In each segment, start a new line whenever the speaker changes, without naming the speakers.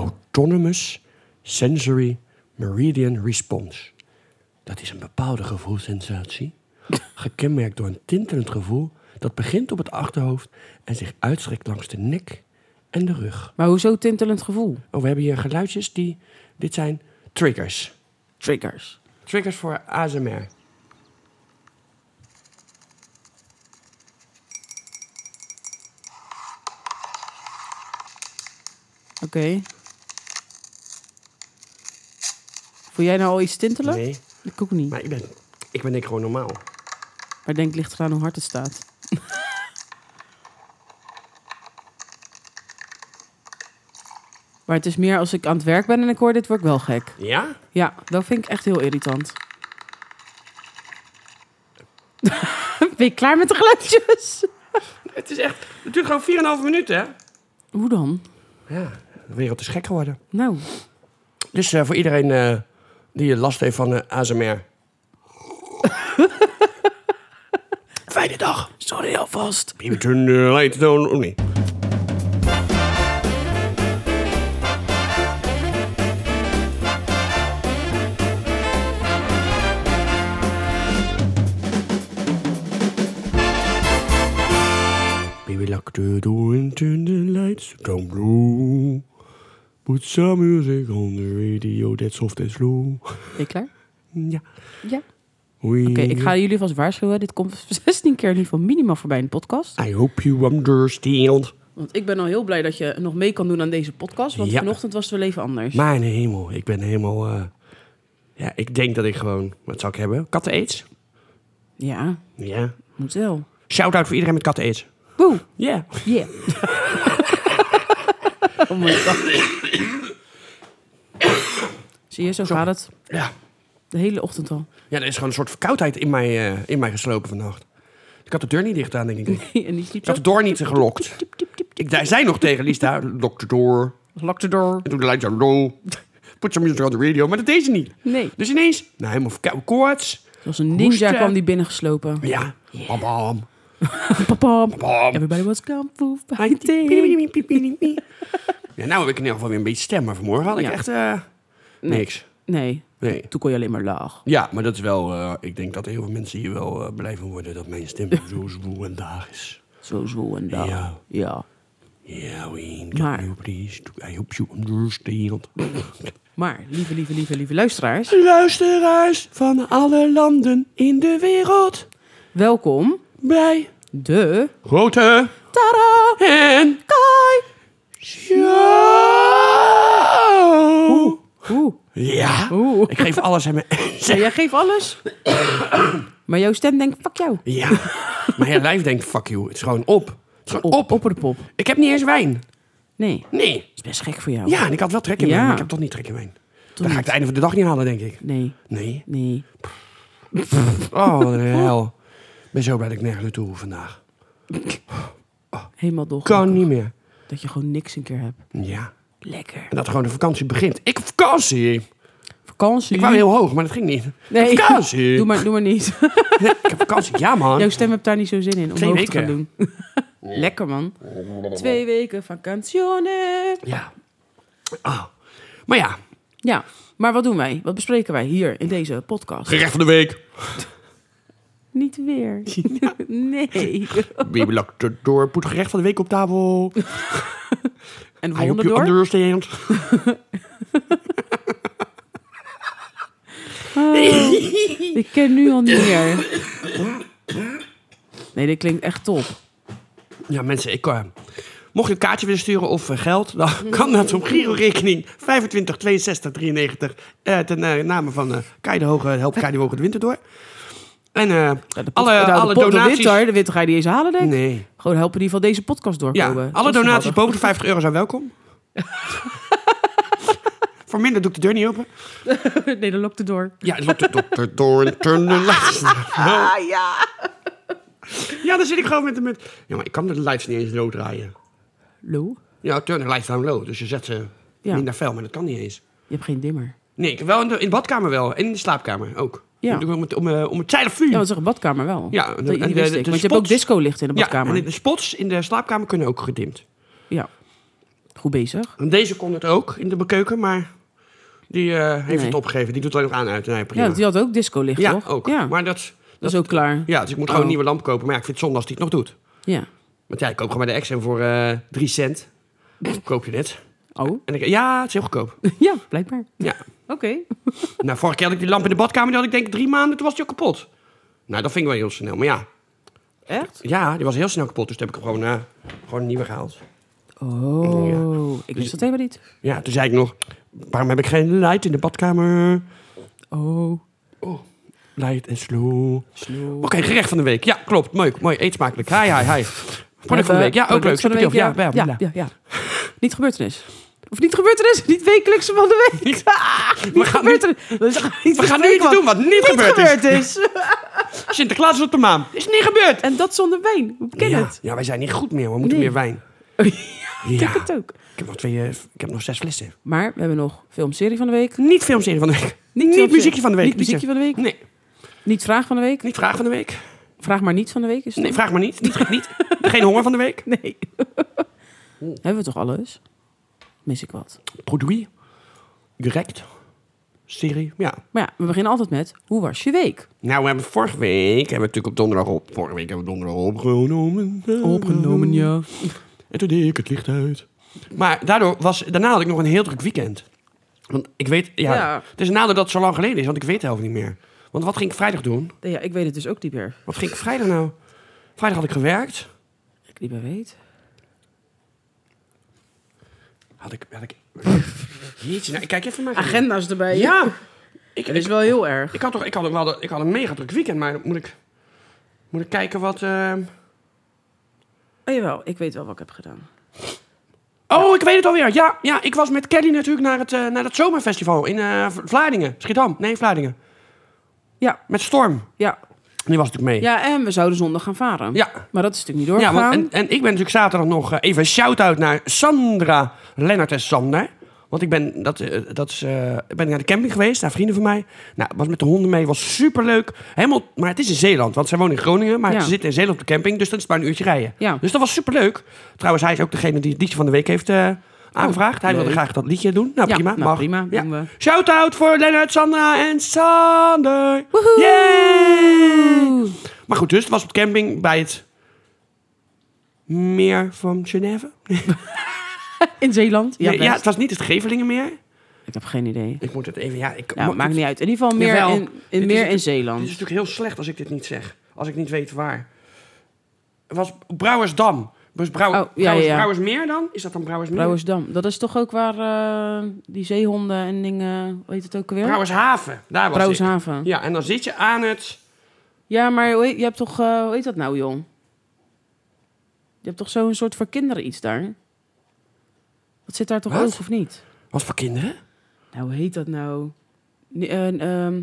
Autonomous Sensory Meridian Response. Dat is een bepaalde gevoelssensatie, gekenmerkt door een tintelend gevoel dat begint op het achterhoofd en zich uitstrekt langs de nek en de rug.
Maar hoezo tintelend gevoel?
Oh, we hebben hier geluidjes die. Dit zijn triggers.
Triggers.
Triggers voor ASMR.
Oké. Voel jij nou al iets tintelen?
Nee,
Ik ook niet.
maar ik ben, ik ben denk ik gewoon normaal.
Maar denk ligt eraan hoe hard het staat. maar het is meer als ik aan het werk ben en ik hoor dit, word ik wel gek.
Ja?
Ja, dat vind ik echt heel irritant. ben je klaar met de geluidjes?
Het is echt. Het duurt gewoon 4,5 minuten, hè?
Hoe dan?
Ja, de wereld is gek geworden.
Nou,
Dus eh, voor iedereen eh, die last heeft van eh, ASMR. Fijne dag.
sorry alvast.
Even turn the light down. Oh nee. Baby, lock the door and turn the lights down blue. Put some music on the radio that's soft and slow.
Ben je klaar?
Mm, Ja.
Ja.
Oké,
Oké, ik ga jullie vast waarschuwen. Dit komt 16 keer in ieder geval minimaal voorbij in de podcast.
I hope you understand.
Want ik ben al heel blij dat je nog mee kan doen aan deze podcast. Want
Ja.
vanochtend was het wel even anders.
Mijn hemel, ik ben helemaal... eh, ja, ik denk dat ik gewoon... Wat zou ik hebben? Katten aids?
Ja,
Ja.
moet wel.
Shout-out voor iedereen met katten aids.
Woe!
Ja.
Yeah. oh my god. Zie je, zo gaat het.
Ja.
De hele ochtend al.
Ja, er is gewoon een soort verkoudheid in mij, eh, in mij geslopen vannacht. Ik had de deur niet dicht aan, denk ik. Ik
en die sliep zo.
had de door niet gelokt. Ik daar- zei nog tegen Lista, lok de door.
Lock the door.
En toen de lights aan low. Put some music on the radio. Maar dat deed ze niet.
Nee.
Dus ineens, nou helemaal verkouden koorts.
Zoals een ninja
Hoesten.
kwam die binnengeslopen.
Ja. Bam, bam,
Papam.
bam.
Everybody was kung fu
Ai,
fighting.
Ja, nou heb ik in ieder geval weer een beetje stem, maar vanmorgen had ik
Ja.
echt eh, niks.
Nee,
Nee.
toen kon je alleen maar laag.
Ja, maar dat is wel... eh, ik denk dat heel veel mensen hier wel eh, blij van worden dat mijn stem zo zwoel en daag is.
Zo zo en daar.
Ja.
ja.
Ja, Wayne,
Maar-
can you please? I hope you understand.
Maar, lieve, lieve, lieve, lieve luisteraars.
Luisteraars van alle landen in de wereld.
Welkom
Bij
de...
Grote
Tada!
en
Kai!
Show.
Oeh.
Ja,
Oeh.
ik geef alles aan mijn...
Ja, jij geeft alles. maar jouw stem denkt, fuck jou.
Ja, maar je lijf denkt, fuck you, het is gewoon op. Het is gewoon op.
Op, op de pop.
Ik heb niet eens wijn.
Nee, dat
Nee.
is best gek voor jou.
Ja, en ik had wel trek in wijn,
Ja.
maar ik heb toch niet trek in wijn. Dan ga ik het einde van de dag niet halen, denk ik.
Nee,
Nee.
nee.
Oh, wat een hel. Ik ben zo blij dat ik nergens naartoe hoef vandaag.
Helemaal dol.
Kan niet meer.
Dat je gewoon niks een keer hebt.
Ja.
Lekker.
En dat gewoon de vakantie begint. Ik heb vakantie.
Vakantie.
Ik wou heel hoog, maar dat ging niet.
nee.
Vakantie.
Doe maar, doe maar niet.
Ja, ik heb vakantie. Ja, man.
Jouw stem hebt daar niet zo zin in om
Twee
hoog te gaan
weken.
doen. Lekker man. Twee weken vakantione.
Ja. Ah. Maar ja,
Ja, maar wat doen wij? Wat bespreken wij hier in deze podcast?
gerecht van de week.
Niet weer. Nee.
Baby lakt het door. Poet gerecht van de week op tafel.
En de
I hope
volgende
you
door?
understand.
Oh, Ik ken nu al niet meer. Nee, dit klinkt echt top.
Ja, mensen, ik, eh, mocht je een kaartje willen sturen of eh, geld, dan kan dat op Giro-rekening 25 62 93 eh, ten eh, name van eh Kai de Hoge, help Kai de Hoge de winter door. En eh,
Ja, de pod-
alle,
nou, de
alle
pod- de
donaties...
winter, de winter ga je niet eens halen, denk ik.
nee.
Gewoon helpen die van deze podcast
Ja,
doorkomen. Dat
alle
is
donaties
handig.
boven de 50 euro zijn welkom. Voor minder doe ik de deur niet open.
nee, dan lokt het door.
Ja, dokter Doorn, turn the lights.
Ah, ja.
Ja, dan zit ik gewoon met de met. Ja, maar ik kan de lights niet eens low draaien.
Lo,
Ja, turn the lights down low. Dus je zet ze
Ja.
minder fel, maar dat kan niet eens.
je hebt geen dimmer.
Nee, ik heb wel in de, in de badkamer wel. En in de slaapkamer ook.
Ja.
Ik doe Om, het, om, eh, om het zijdevuur.
Ja, want zeg, een badkamer wel.
Ja,
dat,
en-
die
en de-
wist
de-
ik.
de
Want je hebt ook
spots-
disco licht in de badkamer.
en de spots in de slaapkamer kunnen ook gedimd.
Ja. Goed goed bezig.
En deze kon het ook in de keuken, maar die eh, heeft
Nee.
het opgegeven. Die doet alleen nog aan en uit. Nee, prima.
Ja, die had ook disco licht,
Ja,
toch?
ook.
Ja,
Maar dat,
dat is ook klaar.
ja, dus ik moet gewoon
Oh.
een nieuwe lamp kopen. Maar ja, ik vind het zonde als die het nog doet.
Ja.
Want ja, ik koop gewoon bij de Exxon voor eh 3 cent. koop je dit.
Oh,
En ik, ja, het is heel goedkoop.
ja, blijkbaar.
Ja.
Oké.
nou, vorige keer had ik die lamp in de badkamer. Die had ik denk ik drie maanden. Toen was die al kapot. Nou, dat vind ik wel heel snel. Maar ja,
Echt?
ja die was heel snel kapot. Dus toen heb ik hem gewoon, eh, gewoon een nieuwe gehaald.
Oh, ik
Dus-
wist dat helemaal niet.
Ja, toen zei ik nog... Waarom heb ik geen light in de badkamer?
Oh.
Light en slow. Oké, gerecht van de week. Ja, klopt. Mooi, mooi. Eet smakelijk. Hi, hi, hi. Product van de week. Ja, ook leuk.
Product van de
Zet het
week,
op. Ja, ja, ja.
ja, ja. Niet gebeurtenis. Of niet gebeurtenis, niet wekelijkse van de week. Ah, Niet,
gaan
gebeurtenis. Dat is toch niet
We gaan nu
week,
iets doen wat niet,
Niet
gebeurd is.
gebeurd is.
Sinterklaas is op de maan. Is niet gebeurd.
en dat zonder wijn. Hoe ken
ja.
het?
ja, wij zijn niet goed meer. We moeten
Nee.
meer wijn.
Ja, Ik
Ja.
denk het ook.
Ik heb nog, twee, eh, ik heb nog zes flessen.
Maar we hebben nog filmserie van de week.
Niet filmserie van de week. Niet,
filmserie-
muziekje van de week.
Niet muziekje van de week.
Nee,
Niet vraag van de week.
niet vraag van de week.
Vraag maar niet van de week. Is het
Nee, vraag maar niet. Niet, niet. Geen honger van de week.
Nee. Hebben we toch alles? Mis ik wat.
Produit. Direct. Serie. Ja.
Maar ja, we beginnen altijd met, hoe was je week?
Nou, we hebben vorige week... Hebben we natuurlijk op donderdag op... Vorige week hebben we donderdag opgenomen.
ja.
En toen deed ik het licht uit. Maar daardoor was, daarna had ik nog een heel druk weekend. Want ik weet, ja,
Ja.
Het is een nadeel dat het zo lang geleden is, want ik weet het helft niet meer. Want wat ging ik vrijdag doen?
Nee, ja. Ik weet het dus ook niet meer.
Wat ging ik vrijdag nou? Vrijdag had ik gewerkt.
Ik niet meer weet.
Had ik, had ik... Jeetje, nou, ik kijk even naar mijn
Agenda's erbij.
Ja, ik,
Dat is
ik,
wel heel erg.
ik had toch, ik had, een- we hadden- ik had een mega druk weekend, maar moet ik, moet ik kijken wat... ehm,
Oh, jawel, ik weet wel wat ik heb gedaan.
Oh, ik weet het alweer. Ja, ja, ik was met Kelly natuurlijk naar het, eh, naar het zomerfestival in eh, V- Vlaardingen. Schiedam. Nee, Vlaardingen.
Ja.
Met Storm.
Ja.
Die was natuurlijk mee.
ja, en we zouden zondag gaan varen.
Ja.
Maar dat is natuurlijk niet
Ja,
doorgegaan.
want, en, en ik ben natuurlijk zaterdag nog eh, even een shout-out naar Sandra, Lennart en Sander. Want ik ben, dat, eh, dat is, eh, ik ben naar de camping geweest, naar vrienden van mij. Nou, was met de honden mee, was superleuk. Helemaal, maar het is in Zeeland, want zij woont in Groningen, maar
Ja.
ze zitten in Zeeland op de camping. Dus dan is het maar een uurtje rijden.
Ja.
Dus dat was superleuk. Trouwens, hij is ook degene die het liedje van de week heeft eh, aangevraagd. hij wilde
Oh, leuk.
graag dat liedje doen. Nou,
Ja,
prima.
nou,
mag.
prima,
Ja.
doen we.
Shout-out voor Lennart, Sandra en Sander.
Woehoe.
Yay! Maar goed, dus het was op de camping bij het meer van Genève.
In Zeeland? Ja,
Nee, ja,
best.
het was niet het Gevelingen meer.
Ik heb geen idee.
Ik moet het even... Ja, ik,
Nou,
mo-
maakt niet uit. In ieder geval meer,
Jawel.
in,
Dit
in,
is
meer in
natuurlijk- Dit
Zeeland.
is natuurlijk heel slecht als ik dit niet zeg. Als ik niet weet waar. Het was Brouwersdam. Dus Brouw,
Oh, ja,
Brouwers,
ja, ja.
Brouwersmeer dan? Is dat dan Brouwersmeer?
Brouwersdam. Dat is toch ook waar eh, die zeehonden en dingen... Hoe heet het ook alweer?
Brouwershaven. Daar was ik.
Brouwershaven. Ja.
Ja, en dan zit je aan het...
maar hoe heet- je hebt toch... eh, hoe heet dat nou, jong? Je hebt toch zo'n soort voor kinderen iets daar? Dat zit daar toch
Wat?
ook, of niet?
Wat voor kinderen?
Nou, hoe heet dat nou? Nee, eh, ehm,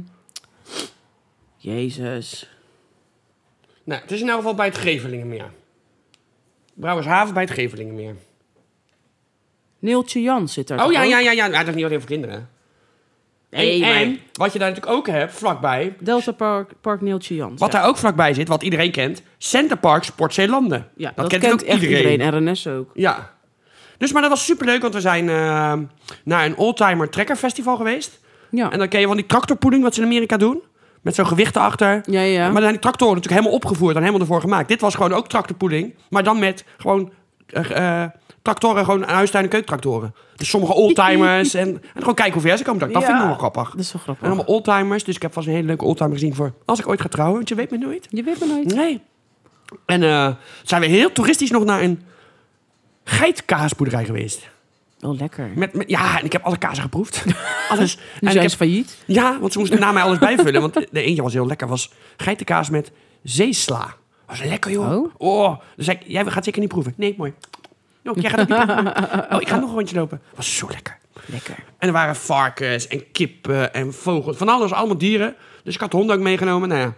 Jezus.
Nou, het is in elk geval bij het Gevelingenmeer. Brouwershaven bij het Gevelingenmeer.
Neeltje Jan zit daar
Oh
toch
ja,
ook?
ja, ja, ja. Ja, Dat is niet alleen voor kinderen.
Nee,
en,
maar-
en wat je daar natuurlijk ook hebt, vlakbij...
Delta Park, Park Neeltje Jan.
Wat daar ook vlakbij zit, wat iedereen kent... Centerpark Sport Zeelanden.
Ja, dat, kent,
ook
echt iedereen. RNS ook.
Ja. Dus, maar dat was superleuk, want we zijn eh, naar een oldtimer trekker festival geweest.
Ja.
En dan ken je van die tractorpoeding wat ze in Amerika doen. Met zo'n gewicht erachter.
ja, ja.
Maar dan zijn die tractoren natuurlijk helemaal opgevoerd en helemaal ervoor gemaakt. Dit was gewoon ook tractorpoeding, maar dan met gewoon eh, eh, tractoren, gewoon huistuin- en keukentractoren. Dus sommige oldtimers en, en gewoon kijken hoe ver ze komen. Dat vind ik
Ja.
nog wel grappig.
Dat is wel
En
grappig.
allemaal oldtimers, dus ik heb vast een hele leuke oldtimer gezien voor als ik ooit ga trouwen, want je weet me nooit.
Je weet maar nooit.
Nee. En eh, zijn we heel toeristisch nog naar een geitkaasboerderij geweest.
Wel Oh, lekker.
Met, met, ja, en ik heb alle kazen geproefd. Alles.
Nu
en ik
zijn
heb
ze failliet.
ja, want ze moesten na mij alles bijvullen. Want de eentje was heel lekker. was geitenkaas met zeesla. Was lekker, joh.
Oh.
Oh. Dus ik, jij gaat zeker niet proeven. Nee, mooi. Oh, jij gaat ook niet proeven. Oh, ik ga nog een rondje lopen. Was zo lekker.
Lekker.
En er waren varkens en kippen en vogels. Van alles, allemaal dieren. Dus ik had de honden ook meegenomen. Nou ja,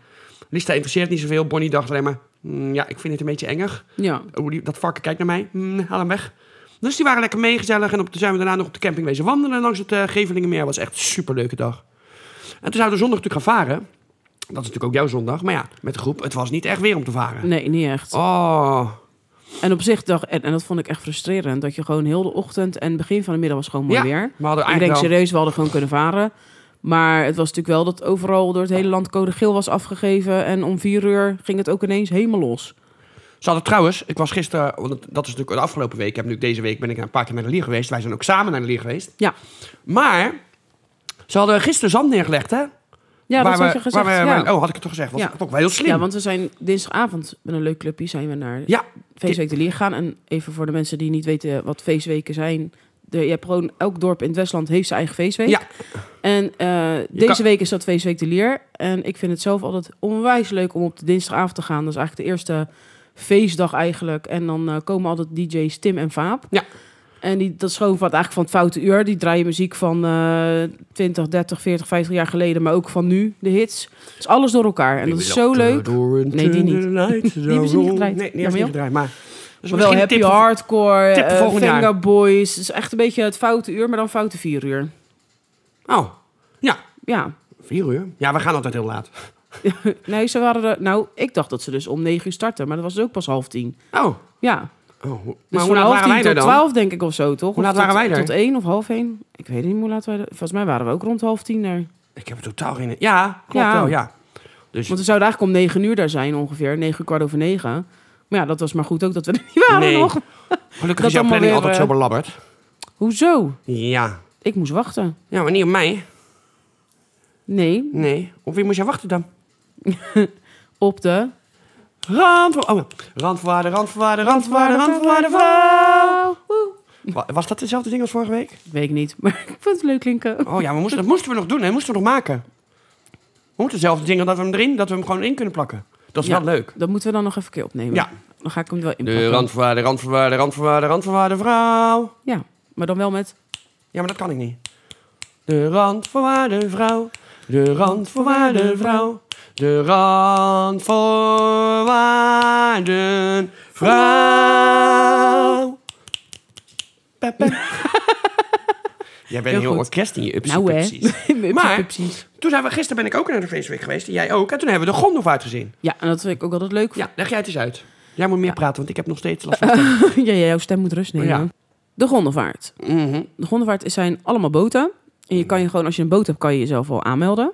Lista interesseert niet zoveel. Bonnie dacht alleen maar... "Mm, ja, ik vind het een beetje engig.
Ja.
Oh, die, dat varken kijkt naar mij. Hmm, haal hem weg. Dus die waren lekker meegezellig. En op, toen zijn we daarna nog op de camping wezen wandelen langs het eh, Gevelingenmeer. Was echt een superleuke dag. En toen zouden we zondag natuurlijk gaan varen.
Mm.
Dat is natuurlijk ook jouw zondag. Maar ja, met de groep. Het was niet echt weer om te varen.
Nee, niet echt.
Oh.
En op zich dacht, en, en dat vond ik echt frustrerend, dat je gewoon heel de ochtend en begin van de middag was gewoon mooi
Ja,
weer.
We hadden
Ik
eigenlijk
denk
wel-
serieus, we hadden gewoon kunnen varen. Maar het was natuurlijk wel dat overal door het hele land code geel was afgegeven. En om vier uur ging het ook ineens helemaal los.
Ze hadden trouwens, ik was gisteren, want dat is natuurlijk de afgelopen week. Ik heb nu deze week ben ik een paar keer naar de Lier geweest. Wij zijn ook samen naar de Lier geweest.
Ja,
Maar ze hadden gisteren zand neergelegd, hè? Waar
ja dat
we-
had je gezegd.
waar we-
ja.
waar- oh, had ik het toch gezegd? Was
Ja.
toch wel heel slim.
Ja, want we zijn dinsdagavond met een leuk clubje zijn we naar
Ja,
Feestweek de Lier gegaan. En even voor de mensen die niet weten wat feestweken zijn. De, je hebt gewoon, elk dorp in het Westland heeft zijn eigen feestweek.
Ja.
En eh, deze
kan-
week is dat feestweek de Lier. En ik vind het zelf altijd onwijs leuk om op de dinsdagavond te gaan. Dat is eigenlijk de eerste feestdag eigenlijk. En dan eh, komen altijd DJ's Tim en Vaap.
Ja.
En die, dat schoonvat eigenlijk van het foute uur. Die draaien muziek van eh 20, 30, 40, 50 jaar geleden. Maar ook van nu, de hits. Het is alles door elkaar. En dat is zo leuk. Nee, die niet.
Die
hebben ze niet gedraaid.
Nee, die hebben ze
Jammer,
niet
joh.
gedraaid. Maar, dus
Maar wel
misschien een
happy
tip voor-
hardcore,
tip voor
eh,
volgend jaar.
Venga Boys. Het is echt een beetje het foute uur, maar dan foute vier uur.
Oh, ja.
Ja.
Vier uur? Ja, we gaan altijd heel laat.
Nee, ze waren er... Nou, ik dacht dat ze dus om negen uur starten, maar dat was dus ook pas half tien.
Oh,
Ja.
oh. maar
Dus
hoe laat
van half
waren
tien
wij er
tot
dan?
twaalf, denk ik, of zo, toch?
Hoe
Of
laat waren
tot-
wij er?
Tot één of half één. Ik weet niet hoe laat wij er... Volgens mij waren we ook rond half tien er.
Ik heb er totaal geen... Ja, klopt
Ja.
wel, ja. Dus
Want we zouden eigenlijk om negen uur daar zijn, ongeveer. Negen uur, kwart over negen. Maar ja, dat was maar goed ook dat we er niet waren
Nee.
nog.
gelukkig
dat
is jouw
allemaal
planning
weer,
altijd
eh,
zo belabberd.
Hoezo?
Ja.
Ik moest wachten.
Ja, maar niet op mij.
Nee,
Nee. Op wie moest jij wachten dan?
op de...
Randvoorwaarden, oh, randvoorwaarden, randvoorwaarden, randvoorwaarden, randvoorwaarden, vrouw. Wa- Was dat dezelfde ding als vorige week?
Weet ik niet, maar ik vond het leuk klinken.
Oh ja, we moesten, dat moesten we nog doen, hè? moesten we nog maken. We moeten dezelfde dingen dat we hem erin, dat we hem gewoon in kunnen plakken. Dat is
Ja.
wel leuk.
Dat moeten we dan nog even een keer opnemen.
Ja.
Dan ga ik hem er wel in.
De randvoorwaarden, randvoorwaarden, randvoorwaarden, randvoorwaarden, vrouw.
Ja, maar dan wel met...
Ja, maar dat kan ik niet. De randvoorwaarden, vrouw. De randvoorwaarden, vrouw. De randvoorwaarden, vrouw. Pe, pe. Jij bent
Heel
een heel
goed.
orkest in je upsie
nou hè.
pupsies.
Upsie
Maar-
pupsies.
Toen zijn we, gisteren ben ik ook naar de feestweek geweest. En jij ook. En toen hebben we de gondelvaart gezien.
Ja, en dat vind ik ook altijd leuk.
Ja, leg jij het eens uit. Jij moet meer praten, want ik heb nog steeds last van...
ja, ja, jouw stem moet rust nemen.
Ja.
De gondelvaart.
Mhm.
De gondelvaart is- zijn allemaal boten. En je kan je gewoon, als je een boot hebt, kan je jezelf al aanmelden.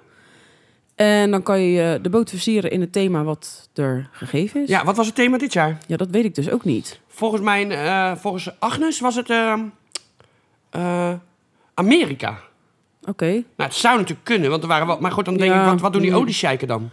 En dan kan je eh, de boot versieren in het thema wat er gegeven is.
Ja, wat was het thema dit jaar?
Ja, dat weet ik dus ook niet.
Volgens mijn, eh, volgens Agnes was het ehm, eh, Amerika.
Oké.
Nou, het zou natuurlijk kunnen, want er waren wel. Maar goed, dan denk
Ja,
ik, wat, wat doen die
nee.
oliesheiken dan?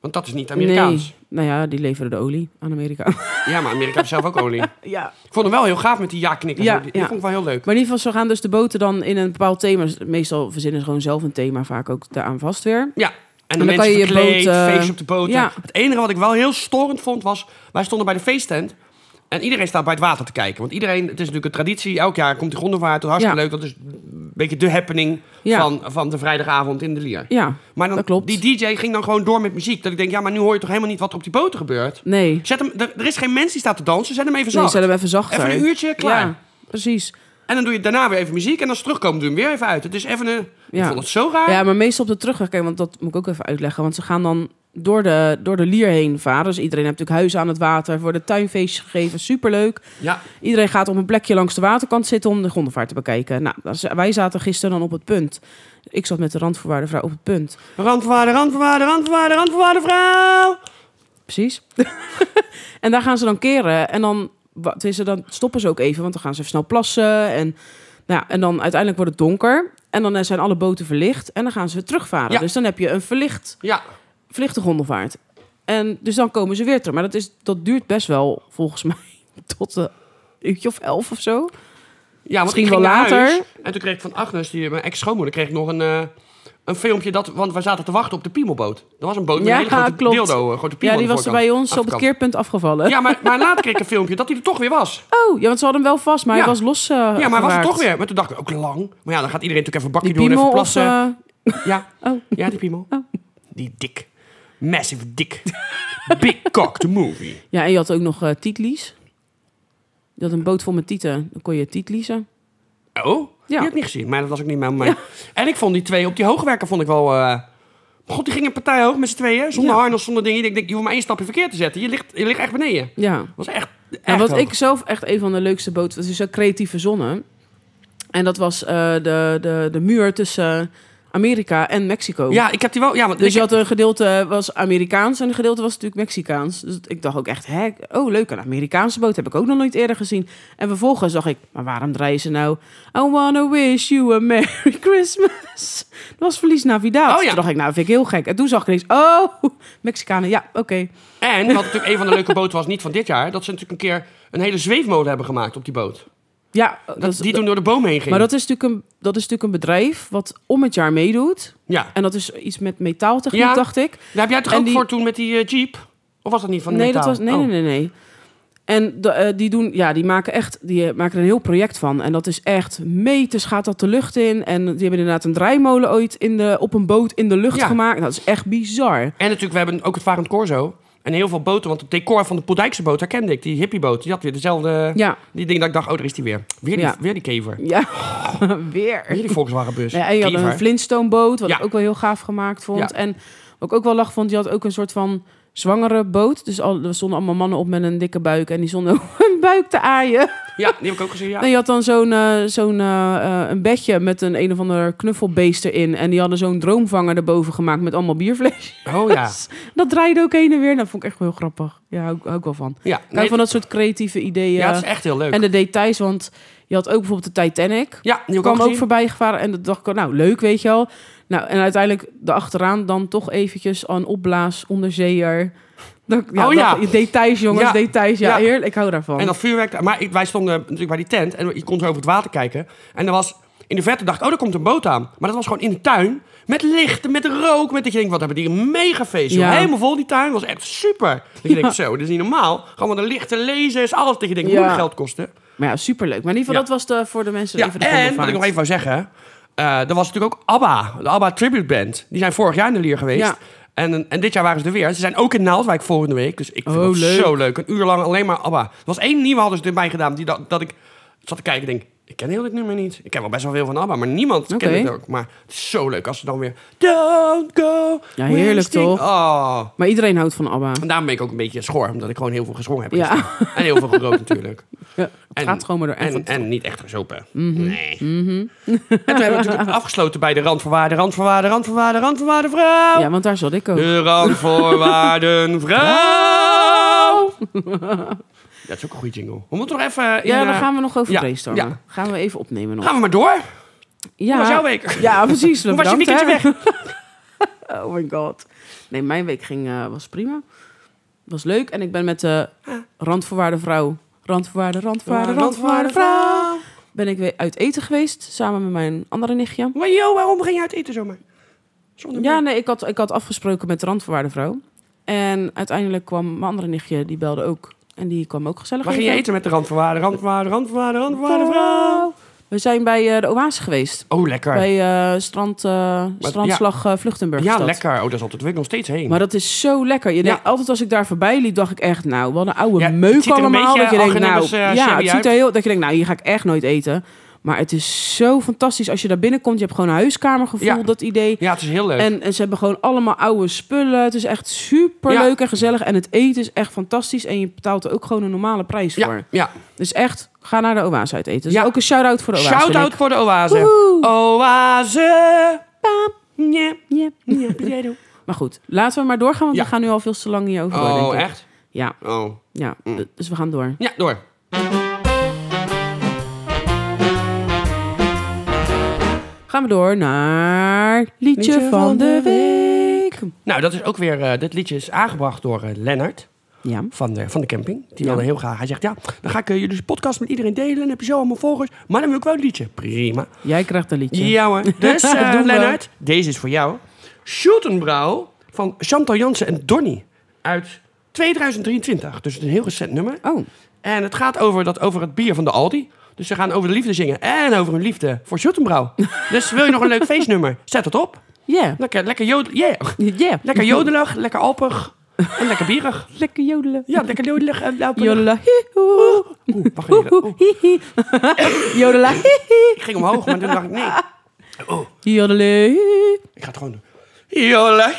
Want dat is niet Amerikaans.
Nee. Nou ja, die leveren de olie aan Amerika.
Ja, maar Amerika heeft zelf ook olie.
ja,
Ik vond hem wel heel gaaf met die ja-knikken.
Ja,
Ja, die, die
ja.
vond ik wel heel leuk.
Maar in ieder geval, zo gaan dus de boten dan in een bepaald thema. Meestal verzinnen ze gewoon zelf een thema, vaak ook daaraan vast weer.
Ja. En de
dan
mensen
kan je je
verkleed,
boot, eh,
feestje op de boot.
ja.
Het enige wat ik wel heel storend vond was... Wij stonden bij de feesttent en iedereen staat bij het water te kijken. Want iedereen, het is natuurlijk een traditie. Elk jaar komt die grondenvaart. Dat is hartstikke
Ja.
leuk. Dat is een beetje de happening
Ja.
van, van de vrijdagavond in de Lier.
Ja,
Maar dan,
dat klopt.
die DJ ging dan gewoon door met muziek. Dat ik denk, ja, maar nu hoor je toch helemaal niet wat er op die boten gebeurt?
Nee,
Zet hem, er, er is geen mens die staat te dansen. Zet hem even
nee
zacht.
zet hem even zachter.
Even een uurtje, klaar.
Ja, precies.
En dan doe je daarna weer even muziek. En als ze terugkomen, doe je hem weer even uit. Het is even een... Ik
Ja.
vond het zo raar.
Ja, maar meestal op de terugweg, kijk, want dat moet ik ook even uitleggen. Want ze gaan dan door de, door de lier heen varen. Dus iedereen heeft natuurlijk huizen aan het water. Er worden tuinfeestjes gegeven, superleuk.
Ja.
Iedereen gaat op een plekje langs de waterkant zitten om de gondelvaart te bekijken. Nou, dat is- wij zaten gisteren dan op het punt. Ik zat met de randvoorwaardenvrouw op het punt.
Randvoorwaarde, randvoorwaarde, randvoorwaarde, randvoorwaarde, vrouw.
Precies. en daar gaan ze dan keren. En dan, wa- tenminste, dan stoppen ze ook even, want dan gaan ze even snel plassen. En, nou ja, en dan uiteindelijk wordt het donker. En dan eh, zijn alle boten verlicht. En dan gaan ze weer terugvaren.
Ja.
Dus dan heb je een verlicht,
Ja.
verlichte gondelvaart. En dus dan komen ze weer terug. Maar dat, is, dat duurt best wel, volgens mij, tot een uurtje of elf of zo.
Ja, want
Misschien
ik ging
wel
naar
later.
huis en toen kreeg ik van Agnes, die, mijn ex-schoonmoeder, kreeg ik nog een, eh, een filmpje. Dat, want we zaten te wachten op de piemelboot. Er was een boot met
Ja,
een hele grote
klopt.
dildo, een grote piemel
Ja, die
aan de
was er
voorkant,
bij ons op het
achterkant.
keerpunt afgevallen.
Ja, maar, maar later kreeg ik een filmpje dat hij er toch weer was.
Oh, ja, want ze hadden hem wel vast, maar
Ja.
hij was los eh,
Ja, maar hij was er
geraakt.
toch weer. Maar toen dacht ik, ook lang. Maar ja, dan gaat iedereen natuurlijk even een bakje
Die
doen en
piemel
even
of...
plassen.
eh,
Ja.
Oh.
ja, die piemel. Die dik. Massive dik. Big cock, the movie.
Ja, en je had ook nog eh titlies. Je had een boot vol met tieten. Dan kon je titliezen.
Oh, die heb ik niet gezien. Maar dat was ook niet mijn... mijn- En ik vond die twee op die hoogwerker vond ik wel... eh, God, die ging een partij hoog met z'n tweeën. Zonder
Ja.
harnas, zonder dingen. Ik denk, je hoeft maar één stapje verkeerd te zetten. Je ligt, je ligt echt beneden.
Ja.
Dat was echt, echt
En wat
hoog.
ik zelf echt een van de leukste boten... Het is een creatieve zonne. En dat was eh, de, de, de muur tussen eh, Amerika en Mexico.
Ja, ik heb die wel... Ja, want
Dus
ik-
je had een gedeelte eh, was Amerikaans en een gedeelte was natuurlijk Mexicaans. Dus ik dacht ook echt, hè, oh leuk, een Amerikaanse boot heb ik ook nog nooit eerder gezien. En vervolgens dacht ik, maar waarom draaien ze nou? I wanna wish you a Merry Christmas. Dat was Verlies Navidad.
Oh ja.
Toen dacht ik, nou vind ik heel gek. En toen zag ik ineens, oh, Mexicanen, ja, oké.
En wat natuurlijk een van de leuke boten was, niet van dit jaar... dat ze natuurlijk een keer een hele zweefmolen hebben gemaakt op die boot.
Ja, dat,
Dat, die toen door de boom heen ging.
maar dat is, natuurlijk een, dat is natuurlijk een bedrijf wat om het jaar meedoet.
ja.
En dat is iets met metaaltechniek,
Ja.
dacht ik.
Daar heb jij toch
En
ook
die-
voor toen met die eh, jeep? Of was dat niet van de
nee,
metaal?
dat was, nee,
Oh.
nee, nee, nee. En de- eh, die doen, ja, die maken echt, die eh, maken er een heel project van. En dat is echt meters gaat dat de lucht in. En die hebben inderdaad een draaimolen ooit in de, op een boot in de lucht
Ja.
gemaakt. Dat is echt bizar.
En natuurlijk, we hebben ook het Varend Corso. En heel veel boten, want het decor van de Poldijkse boot herkende ik. Die hippieboot, die had weer dezelfde...
Ja,
Die ding dat ik dacht, oh, daar is die weer. Weer die,
Ja.
weer die kever.
ja, weer.
Weer die Volkswagenbus.
Ja, en je had
Kever.
een Flintstone-boot, wat
Ja.
ik ook wel heel gaaf gemaakt vond.
Ja.
En wat ik ook wel lach vond, die had ook een soort van zwangere boot. Dus al, er stonden allemaal mannen op met een dikke buik. En die stonden ook hun buik te aaien.
Ja, die heb ik ook gezien, ja.
En je had dan zo'n eh, zo'n eh, eh, een bedje met een een of ander knuffelbeest erin. En die hadden zo'n droomvanger erboven gemaakt met allemaal bierflesjes.
Oh ja.
Dat draaide ook heen en weer. Dat vond ik echt wel heel grappig. Ja, hou, ik- hou ik wel van.
Ja,
Kijk
nee,
van dat soort creatieve ideeën.
ja, het is echt heel leuk.
en de details, want je had ook bijvoorbeeld de Titanic.
ja, die heb ik ook
kwam ook
gezien.
voorbij gevaren en dat dacht ik, nou leuk, weet je wel. Nou, en uiteindelijk de achteraan dan toch eventjes aan opblaas onderzeeër. Dat, ja,
Oh ja.
dat- details jongens,
Ja.
details. Ja,
Ja.
heerlijk, ik hou daarvan.
En dat vuurwerk... daar- Maar ik- wij stonden natuurlijk bij die tent en je kon zo over het water kijken. En er was... In de verte dacht ik, oh, daar komt een boot aan. Maar dat was gewoon in de tuin. Met licht, met rook. Met dat je denkt, wat hebben die een mega feest. joh.
Ja.
Helemaal vol die tuin. was echt super. Dat je denkt, zo, dit is niet normaal. Gewoon de lichten, lasers, alles. Dat je denkt,
Ja.
moet geld kosten.
Maar ja, superleuk. Maar in ieder geval,
Ja.
dat was de, voor de mensen
Ja,
even de
en wat
Vondelvaart.
ik nog even wou zeggen. eh er was natuurlijk ook ABBA, de ABBA Tribute Band. Die zijn vorig jaar in de Lier geweest.
Ja.
En, en dit jaar waren ze er weer. Ze zijn ook in Naaldwijk volgende week. Dus ik vind
Oh,
het
leuk.
zo leuk. Een uur lang alleen maar ABBA. Er was één nieuwe hadden ze erbij gedaan. Die dat, dat ik zat te kijken en denk... Ik ken heel dit nummer niet. Ik ken wel best wel veel van ABBA. Maar niemand
Oké.
kent het ook. Maar het is zo leuk als ze dan weer... Don't go
Ja, heerlijk
wasting-
toch?
Oh.
Maar iedereen houdt van ABBA.
En daarom ben ik ook een beetje schor. Omdat ik gewoon heel veel gezongen heb.
Ja.
gisteren. En heel veel gerookt natuurlijk.
Ja,
En-
het gaat gewoon maar door. Mhm. En,
En, en niet echt gezopen. Nee. en toen hebben we natuurlijk afgesloten bij de randvoorwaarden, randvoorwaarden, randvoorwaarden, randvoorwaarden vrouw.
ja, want daar zat ik ook.
Oh. De randvoorwaarden vrouw. Dat is ook een goede jingle. We moeten nog even... in,
ja,
eh,
daar gaan we nog over
ja,
brainstormen.
ja.
Gaan we even opnemen nog.
gaan we maar door.
Ja,
Hoe was jouw week?
ja precies.
Hoe was je
bedankt,
weekendje weg?
hè. Oh my god. Nee, mijn week ging, eh, was prima. Was leuk. En ik ben met de
Ah.
randvoorwaarde vrouw... Randvoorwaarde, randvoorwaarde, randvoorwaarde vrouw... Ben ik weer uit eten geweest, samen met mijn andere nichtje.
Maar joh, waarom ging je uit eten zomaar? Zonder
Ja,
mij.
nee, ik had, ik had afgesproken met de randvoorwaarde vrouw. En uiteindelijk kwam mijn andere nichtje, die belde ook. En die kwam ook gezellig
Waar ging je
eten.
eten met de randvoorwaarden, randvoorwaarden, randvoorwaarden, randvoorwaarden vrouw?
We zijn bij eh, de Oase geweest.
Oh, lekker.
Bij eh, strand, eh, strandslag eh, Vluchtenburg. is
ja,
dat.
lekker. Oh, dat is altijd. Daar wil ik nog steeds heen.
Maar dat is zo lekker. Je
Ja.
denkt, altijd als ik daar voorbij liep, dacht ik echt, nou, wat een oude
Ja, het
meuk
ziet er een
allemaal.
beetje
Dat je denkt, nou,
Argenebbers, eh,
ja,
shabby
het ziet er
uit.
heel, dat je denkt, nou, hier ga ik echt nooit eten. Maar het is zo fantastisch als je daar binnenkomt. Je hebt gewoon een huiskamergevoel,
Ja.
dat idee.
Ja, het is heel leuk.
En, en ze hebben gewoon allemaal oude spullen. Het is echt super leuk en gezellig. En het eten is echt fantastisch. En je betaalt er ook gewoon een normale prijs
ja,
voor.
ja.
Dus echt, ga naar de Oase uit eten. Dus
Ja.
ook een shout-out voor de Oase.
Shout-out
Nick.
voor de oase. Oase. Yeah,
Ja.
yeah, potato.
Maar goed, laten we maar doorgaan, want
Ja.
we gaan nu al veel te lang hierover door, denk
Oh,
ik.
echt?
Ja,
Oh.
ja.
Mm.
dus we gaan door.
Ja, door.
Gaan we door naar liedje,
Liedje
van
van
de
de
week.
Nou, dat is ook weer... eh, dit liedje is aangebracht door eh, Lennart
Ja,
van de, van de camping. Die
Ja.
wilde heel graag... Hij zegt, ja, dan ga ik eh, jullie podcast met iedereen delen. Dan heb je zo allemaal volgers. Maar dan wil ik wel een liedje. Prima.
jij krijgt een liedje.
Ja hoor. Dus eh,
Doen we.
Lennart, deze is voor jou. Schultenbrouw van Chantal Jansen en Donny uit 2023. Dus het is een heel recent nummer.
Oh,
En het gaat over, dat, over het bier van de Aldi. Dus ze gaan over de liefde zingen en over hun liefde voor Schultenbrouw. dus wil je nog een leuk feestnummer? Zet het op.
yeah.
Lekker, lekker, jodel, yeah.
Yeah.
lekker jodelig, lekker alpig en lekker bierig.
Lekker jodelen.
Ja, Oh. lekker jodelig en alpig.
Jodela, hihoe.
Oeh, wacht even. Oeh,
Hihi. Jodela, hihi.
ik ging omhoog, maar toen dacht ik nee.
Jodele, hihi.
Ik ga het gewoon doen. Jola.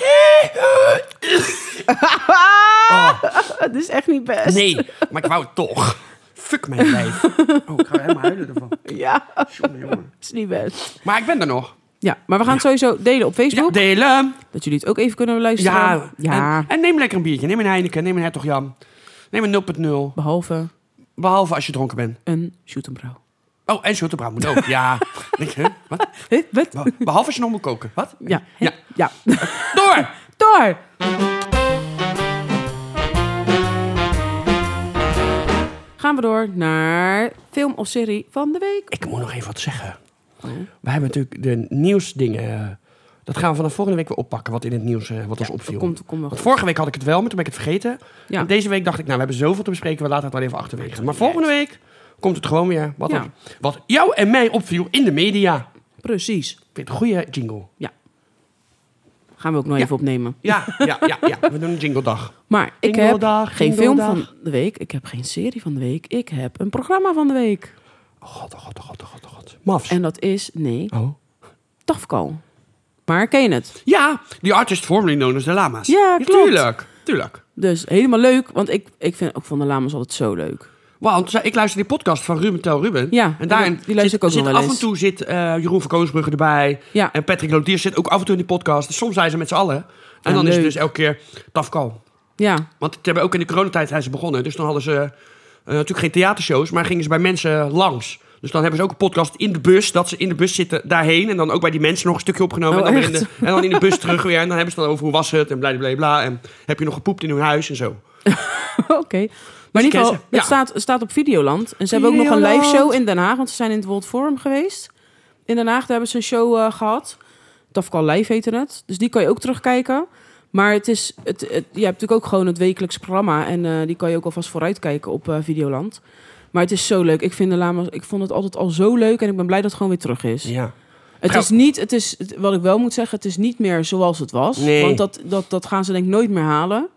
Ah. Het is echt niet best.
Nee, maar ik wou het toch. Fuck mijn lijf. Oh, ik ga helemaal huilen ervan.
Ja, het
Jongen, jongen.
is niet best.
Maar ik ben er nog.
Ja, maar we gaan het sowieso delen op
Ja,
Facebook.
delen.
dat jullie het ook even kunnen luisteren.
Ja.
ja.
En, en neem lekker een biertje. Neem een Heineken. Neem een Hertog Jan. Neem een 0.0.
Behalve
Behalve als je dronken bent.
een shoot and bro.
Oh, en Sjoerd de Bruin moet ook. Ja. Denk je, hè? Wat?
Hè, Wat?
Wa- Behalve als je nog moet koken. Wat?
Ja. hè?
Ja.
Ja.
Door!
Door! Gaan we door naar film of serie van de week.
Ik moet nog even wat zeggen.
Oh.
We hebben natuurlijk de nieuwsdingen. eh, Dat gaan we vanaf volgende week weer oppakken. Wat in het nieuws eh, wat ons opviel.
Komt, komt wel
Want
goed.
vorige week had ik het wel, maar toen ben ik het vergeten.
Ja.
En deze week dacht ik, nou, we hebben zoveel te bespreken. We laten het wel even achterwege. Maar volgende week komt het gewoon weer. Wat,
Ja.
op- wat jou en mij opviel in de media. Ik
Precies.
vind het een goede jingle.
Gaan we ook nog
Ja.
even opnemen.
Ja, ja, ja, ja. We doen een jingle dag.
Maar ik heb
Jingeldag,
geen film
jingeldag.
van de week. Ik heb geen serie van de week. Ik heb een programma van de week.
Oh god, oh god, oh god, oh god, oh god. Mafs.
En dat is, nee,
Oh.
Tafko. Maar ken je het?
Ja, die artist formerly known as de Lama's.
Ja, klopt.
Tuurlijk, tuurlijk.
Dus helemaal leuk, want ik, ik vind ook van de Lamas altijd zo leuk.
Want zij- ik luister die podcast van Ruben Tel Ruben.
Ja,
en daarin
die luister ik ook
zit
nog wel
af
eens.
en toe zit eh, Jeroen van Koningsbrugge erbij.
Ja.
En Patrick Lodier zit ook af en toe in die podcast. Dus soms zijn ze met z'n allen. En dan is het
leuk.
dus elke keer Tafkal.
Ja,
Want het hebben ook in de coronatijd zijn ze begonnen. Dus dan hadden ze eh, natuurlijk geen theatershows, maar gingen ze bij mensen langs. Dus dan hebben ze ook een podcast in de bus, dat ze in de bus zitten daarheen. En dan ook bij die mensen nog een stukje opgenomen.
Oh,
en, dan weer
echt?
in de, en dan in de bus terug weer. En dan hebben ze het dan over hoe was het en bla bla bla. En heb je nog gepoept in hun huis en zo.
Oké. Maar in
ik
ieder
ken
geval, het,
ze. Dus Ja.
staat, het staat op Videoland. En ze hebben ook nog een live
Videoland.
show in Den Haag. Want ze zijn in het World Forum geweest. In Den Haag, daar hebben ze een show eh, gehad. Tafkal Live heette het. Dus die kan je ook terugkijken. Maar het is, het, het- je hebt natuurlijk ook gewoon het wekelijks programma. En eh, die kan je ook alvast vooruitkijken op eh, Videoland. Maar het is zo leuk. Ik vind de Lama's, ik vond het altijd al zo leuk. En ik ben blij dat het gewoon weer terug is.
Ja.
Het
Ga-
is niet, het is, het- wat ik wel moet zeggen, het is niet meer zoals het was.
Nee.
Want dat, dat, dat gaan ze denk ik nooit meer halen.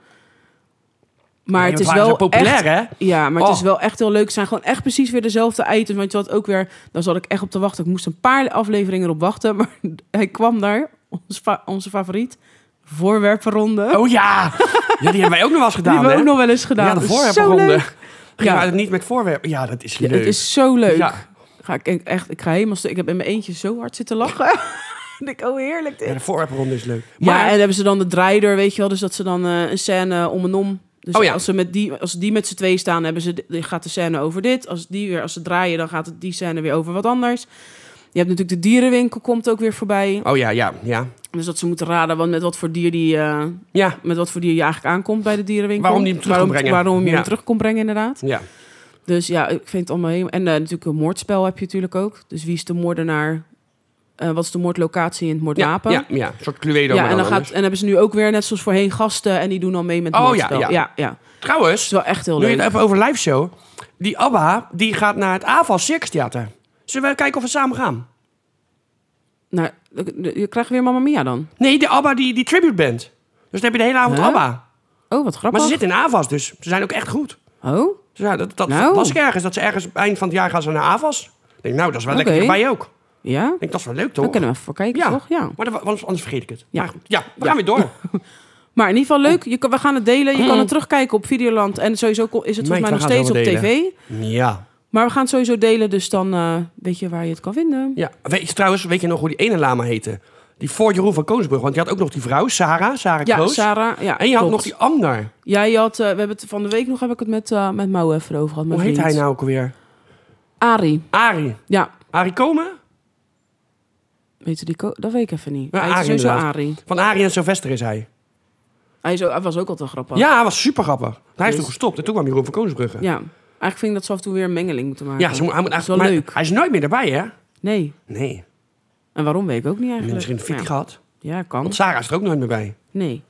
Maar
Nee,
het
dat
is
waren
wel
ze populair,
echt,
hè?
Ja, maar het
Oh.
is wel echt heel leuk. Het zijn gewoon echt precies weer dezelfde items. Want je had ook weer, daar zat ik echt op te wachten. Ik moest een paar afleveringen erop wachten. Maar hij kwam daar, ons fa- onze favoriet, voorwerpenronde.
Oh ja! ja, die hebben wij ook nog wel eens
Die
gedaan,
hebben we
hè?
ook nog wel eens gedaan.
Ja, de
Dat is zo
voorwerpenronde.
leuk.
Gingen
Ja.
we het niet met voorwerpen. Ja, dat is
Ja,
leuk.
het is zo leuk.
Ja.
Ga ik, echt, ik ga helemaal stuk. Ik heb in mijn eentje zo hard zitten lachen. ik denk, oh heerlijk dit.
Ja, de voorwerpenronde is leuk.
Maar...
Maar
en hebben ze dan de draaider, weet je wel? Dus dat ze dan eh, een scène om en om. Dus
Oh ja.
als, ze met die, als die met z'n twee staan, hebben ze, dan gaat de scène over dit. Als, die weer, als ze draaien, dan gaat het, die scène weer over wat anders. Je hebt natuurlijk de dierenwinkel, komt ook weer voorbij.
Oh ja, ja, ja.
Dus dat ze moeten raden wat, met, wat voor dier die, eh,
Ja,
met wat voor dier je eigenlijk aankomt bij de dierenwinkel.
Waarom die hem terug
waarom,
kon brengen.
Waarom je
Ja.
hem terug kon brengen, inderdaad.
ja.
Dus ja, ik vind het allemaal heel... En eh, natuurlijk een moordspel heb je natuurlijk ook. Dus wie is de moordenaar? Eh, wat is de moordlocatie en het
Ja,
moordwapen?
ja, ja. Een soort Cluedo,
Ja,
maar
en dan
dan
gaat,
anders.
en hebben ze nu ook weer net zoals voorheen gasten en die doen al mee met het
Oh,
moordspel.
ja, ja.
ja, ja. Het
Trouwens,
is wel echt heel
nu je het
leuk.
hebt over live show. Die ABBA, die gaat naar het AVAL Circus Theater. Zullen we kijken of we samen gaan?
Nou, je krijgt weer Mamma Mia dan.
Nee, de ABBA, die, die tribute band. Dus dan heb je de hele avond
Huh?
ABBA.
Oh, wat
Maar
grappig.
ze zitten in AVAS, dus ze zijn ook echt goed.
Oh,
Dus ja, dat, dat
Nou.
was ik ergens. Dat ze ergens eind van het jaar gaan ze naar AVAS. Ik denk, nou, dat is wel lekker
Oké.
dichtbij ook. Ik
ja?
denk, dat is wel leuk,
Dan
toch?
kunnen we even voor kijken,
Oh. Ja.
toch? Ja.
Maar dat, want anders vergeet ik het.
Ja.
Maar goed, ja we gaan weer door.
Maar in ieder
Oh.
geval leuk. Je kan, we gaan het delen. Je kan het terugkijken op Videoland. En sowieso ko- is het
Meid,
volgens mij nog
Oh. we gaan
steeds op
het wel
tv.
Ja.
Maar we gaan het sowieso delen. Dus dan eh, weet je waar je het kan vinden.
ja. Weet, je- trouwens, weet je nog hoe die ene lama heette? Die voor Jeroen van Koonsbrug. Want je had ook nog die vrouw, Sarah, Sarah
Ja,
Kroos.
Sarah. Ja,
en je had
klopt.
nog die ander.
Ja, je had, eh, we hebben het van de week nog heb ik het met, eh met Mau even over gehad. mijn
Hoe heet
vriend.
hij nou ook alweer?
Arie.
Arie.
Ja,
Arie Komen?
weet je die? ko- Dat weet ik even niet.
Ja,
hij is
Arie
sowieso
inderdaad.
Arie.
Van Arie en Sylvester is hij.
Hij, is ook- hij was ook altijd grappig.
Ja, hij was super grappig. Hij is
Dus-
toen gestopt en toen kwam Jeroen van Koonsbrugge. Ja,
Ja. Eigenlijk vind ik dat ze af en toe weer een mengeling moeten maken.
ze moet- hij moet
Dat is wel
eigenlijk- maar
leuk.
Hij is nooit meer erbij, hè?
Nee.
Nee.
En waarom weet ik ook niet eigenlijk. Nou
Misschien een fit
ja.
gehad.
ja, kan.
Want Sarah is er ook nooit meer bij.
Nee.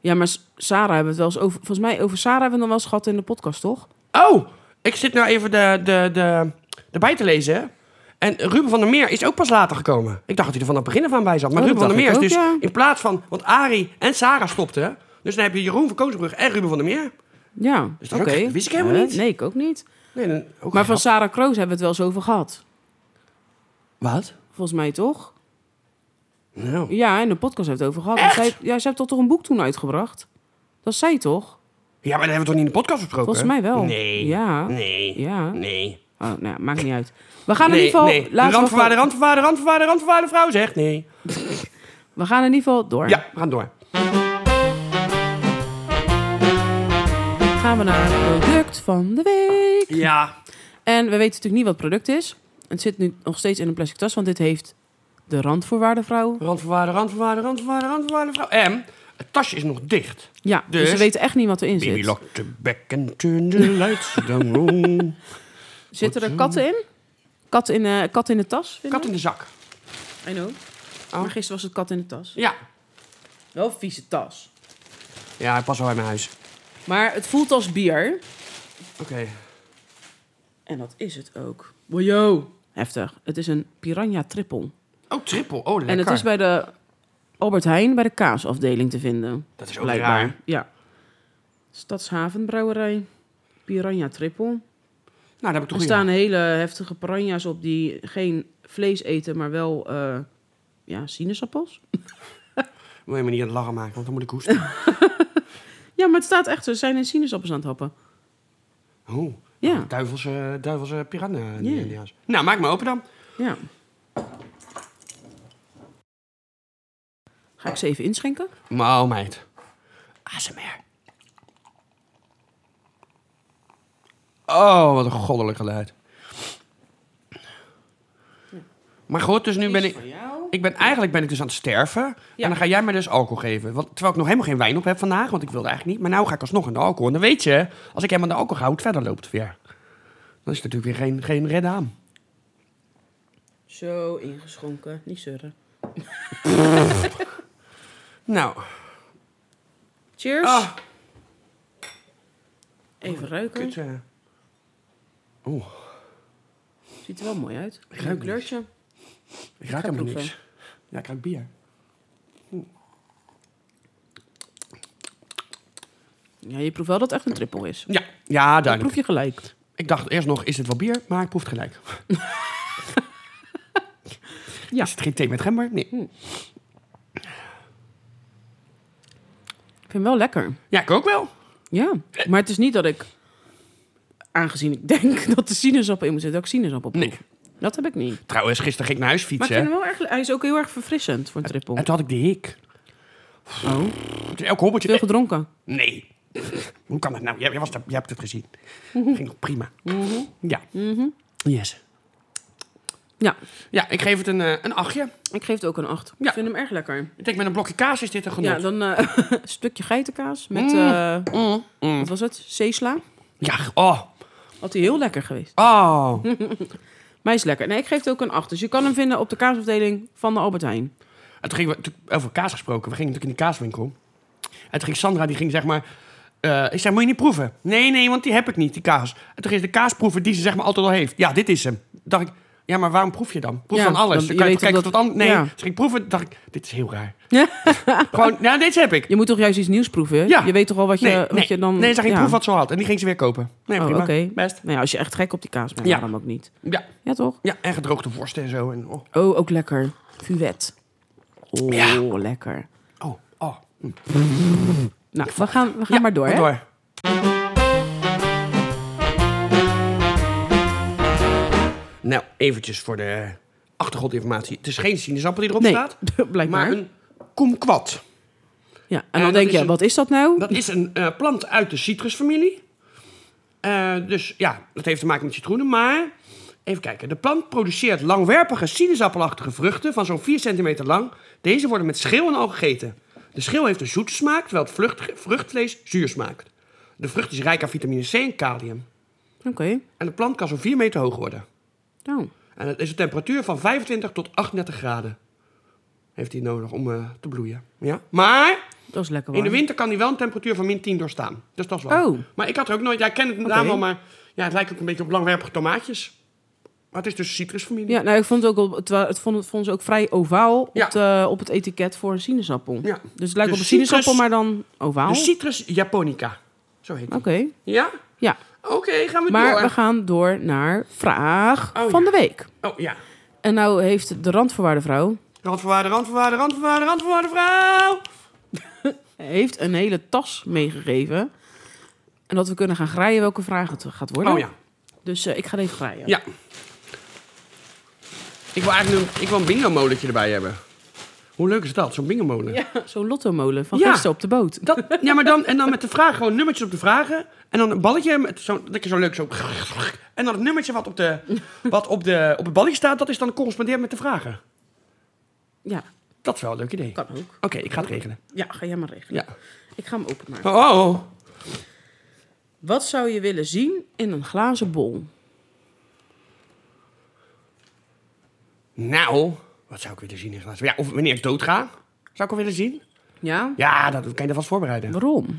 Ja, maar S- Sarah hebben we het wel eens over... Volgens mij over Sarah hebben we het nog wel eens gehad in de podcast, toch?
Oh, ik zit nou even de, de, de, erbij te lezen. En Ruben van der Meer is ook pas later gekomen. Ik dacht dat hij er van het begin af aan bij zat. Maar
Oh, dat
Ruben van der Meer
dacht
is
ik
dus
ook, ja.
in plaats van... Want Arie en Sarah stopten. Dus dan heb je Jeroen van Koosbrug en Ruben van der Meer.
Ja,
Dus dat
oké.
is ook- dat wist ik helemaal
Eh,
niet.
Nee, ik ook niet.
Nee, dan, oh, ook
Maar van Sarah Kroos hebben we het wel eens over gehad.
Wat?
Volgens mij toch?
Nou,
Ja, in de podcast heeft het over gehad. Want Zij, ja, zij heeft toch toch een boek toen uitgebracht? Dat zei je toch?
ja, maar dat hebben we toch niet in de podcast besproken?
Volgens mij wel.
Nee.
Ja.
Nee.
Ja.
Nee.
Oh, nou, ja, maakt niet uit. We gaan
nee,
in ieder geval...
nee.
laten we gewoon-
Randvoorwaarde, randvoorwaarde, randvoorwaarde, randvoorwaarde vrouw zegt nee.
We gaan in ieder geval door.
Ja, we gaan door.
Dan gaan we naar het product van de week.
Ja.
En we weten natuurlijk niet wat het product is. Het zit nu nog steeds in een plastic tas, want dit heeft de randvoorwaardenvrouw.
Randvoorwaarde, randvoorwaarde, randvoorwaarde, randvoorwaarde vrouw. En het tasje is nog dicht.
Ja, dus,
Dus?
we weten echt niet wat erin
Baby
zit.
locked the back and turn the lights down.
Zitten er katten in? Kat in, eh kat in de tas?
Kat in de zak.
I know.
Oh.
Maar gisteren was het kat in de tas.
Ja.
Wel een vieze tas.
Ja, hij past wel in mijn huis.
Maar het voelt als bier.
Oké.
En dat is het ook. Wojo. Heftig. Het is een piranha trippel.
Oh, trippel. Oh, lekker.
En het is bij de Albert Heijn bij de kaasafdeling te vinden.
Dat is ook raar. Nou,
Ja. Stadshavenbrouwerij. Piranha trippel.
Nou, daar heb ik toch
Er staan hele heftige piranha's op die geen vlees eten, maar wel eh, ja, sinaasappels.
Wil je me niet aan het lachen maken, want dan moet ik hoesten.
Ja, maar het staat echt, ze zijn in sinaasappels aan het happen.
Oh,
Ja,
duivelse, duivelse piranha.
Ja.
india's. Nou, maak me open dan.
ja. Ga ik ze even inschenken?
Maar Oh, meid. ASMR. Oh, wat een goddelijk geluid. Maar goed, dus nu ben ik...
jou.
Ik ben eigenlijk ben ik dus aan het sterven. En dan ga jij mij dus alcohol geven. Want, terwijl ik nog helemaal geen wijn op heb vandaag, want ik wilde eigenlijk niet. Maar nu ga ik alsnog aan de alcohol. En dan weet je, als ik helemaal aan de alcohol hou, het verder loopt weer. Dan is het natuurlijk weer geen, geen redden aan.
Zo ingeschonken, niet zeuren.
Nou,
Cheers.
ah,
Even ruiken.
kut, eh.
Ziet er wel mooi uit. Ik
ruik
kleurtje.
ik ruik
ga
helemaal
proeven.
niks. Ja, ik ruik bier.
Ja, je proeft wel dat het echt een trippel is.
Ja, ja
Dat proef
duidelijk.
je gelijk.
Ik dacht eerst nog, is dit wel bier? Maar ik proef het gelijk.
Ja. Hm.
Is het geen thee met gember? Nee.
Ik vind hem wel lekker.
Ja, ik ook wel.
Ja, maar het is niet dat ik, aangezien ik denk dat de sinaasappel in moet zitten, dat ik sinaasappel proef.
Nee.
Dat heb ik niet.
Trouwens, gisteren ging ik naar huis
Maar ik
fietsen.
vind hem wel erg, hij is ook heel erg verfrissend voor een trippel.
En toen had ik de hik.
Oh,
Elk hobbeltje.
veel gedronken.
Nee. Hoe kan dat nou? Jij, jij was daar- jij hebt het gezien. Ging nog prima. Ja. Yes.
Ja,
Mhm. Ja, ik geef het een, eh, een achtje.
ik geef het ook een 8.
Ja.
Ik vind hem erg lekker.
Ik denk met een blokje kaas is dit een genot.
Ja,
Ja,
dan eh, een stukje geitenkaas met, eh,
Mm,
wat was het, Seesla.
oh.
Had hij heel lekker geweest.
Oh.
Maar hij is lekker. Nee, ik geef het ook een 8. Dus je kan hem vinden op de kaasafdeling van de Albert Heijn.
En toen gingen we natuurlijk over kaas gesproken. We gingen natuurlijk in de kaaswinkel. En toen ging Sandra, die ging zeg maar... eh, ik zei, moet je niet proeven? Nee, nee, want die heb ik niet, die kaas. En toen ging ze de kaas proeven die ze zeg maar altijd al heeft. Ja, dit is hem. Toen dacht ik, ja, maar waarom proef je dan? Proef
Ja,
dan alles.
want
Dan
je
kan je
weet
toch kijken
dat-
tot ander. Nee,
ja.
ze ging proeven. dacht ik, dit is heel raar. Gewoon, ja, dit heb ik.
Je moet toch juist iets nieuws proeven?
Ja.
Je weet toch al wat je,
nee,
wat
nee.
je dan...
Nee, ze ging
ja.
proef wat ze al had. En die ging ze weer kopen. Nee,
Oh,
prima.
oké.
Best.
Nou ja, als je echt gek op die kaas bent,
Ja.
waarom ook niet?
Ja.
Ja, toch?
ja, en gedroogde worsten en zo. En, oh,
Oh, ook lekker. Fuet. Oh,
Ja.
lekker.
oh, oh.
Nou, we gaan, we gaan
Ja,
maar door, hè?
door. Nou, eventjes voor de achtergrondinformatie. Het is geen sinaasappel die erop
Nee,
staat,
blijkbaar.
maar een kumquat.
Ja, en
Eh,
dan
dat
denk
is
je,
een-
wat is dat nou?
Dat is een eh, plant uit de citrusfamilie. Eh, dus ja, dat heeft te maken met citroenen. Maar even kijken. De plant produceert langwerpige sinaasappelachtige vruchten van zo'n 4 centimeter lang. Deze worden met schil en al gegeten. De schil heeft een zoete smaak, terwijl het vlucht- vruchtvlees zuur smaakt. De vrucht is rijk aan vitamine C en kalium.
Oké.
En de plant kan zo'n 4 meter hoog worden.
Nou,
En het is een temperatuur van 25 tot 38 graden. Heeft hij nodig om eh, te bloeien. Ja? Maar
dat is lekker
in de
warm.
winter kan hij wel een temperatuur van min 10 doorstaan. Dus dat is wel.
Oh.
Maar ik had er ook nooit. Ja, ik ken het naam
Oké.
wel, maar ja, het lijkt ook een beetje op langwerpige tomaatjes. Maar het is dus citrusfamilie.
Ja, nou, ik vond het ook, wel- het, wa- het vond, het vond ze ook vrij ovaal
Ja.
op, de, op het etiket voor een sinaasappel.
Ja.
Dus het lijkt
De
op een sinaasappel,
citrus-
maar dan ovaal.
De
Oké.
citrus japonica. Zo heet het. Ja?
Ja,
Oké, gaan we
maar
door.
we gaan door naar vraag
Oh,
van
ja.
de week.
Oh ja.
En nou heeft de randvoorwaarde vrouw
Randvoorwaarden, randvoorwaarden, randvoorwaarden, randvoorwaarden, vrouw!
heeft een hele tas meegegeven. En dat we kunnen gaan graaien welke vraag het gaat worden.
Oh ja.
Dus eh, ik ga even graaien.
Ja. Ik wil eigenlijk een, ik wil een bingo-molentje erbij hebben.
Hoe leuk is dat, zo'n bingemolen?
Zo'n lottomolen van
Ja.
gisteren op de boot.
Dat, ja, maar dan, en dan met de vraag gewoon nummertjes op de vragen. En dan een balletje, met zo, dat je zo leuk zo... En dan het nummertje wat op, de, wat op, de, op het balletje staat, dat is dan correspondeert met de vragen.
Ja,
Dat is wel een leuk idee. Oké,
kan ook.
ik ga het regelen.
Ja, ga jij maar regelen.
Ja.
Ik ga hem openmaken.
Oh, oh, oh.
Wat zou je willen zien in een glazen bol?
Nou, wat zou ik willen zien in glazen? Ja, of wanneer ik dood ga, zou ik al willen zien.
Ja?
Ja, dat kan je vast voorbereiden.
Waarom?
Nou,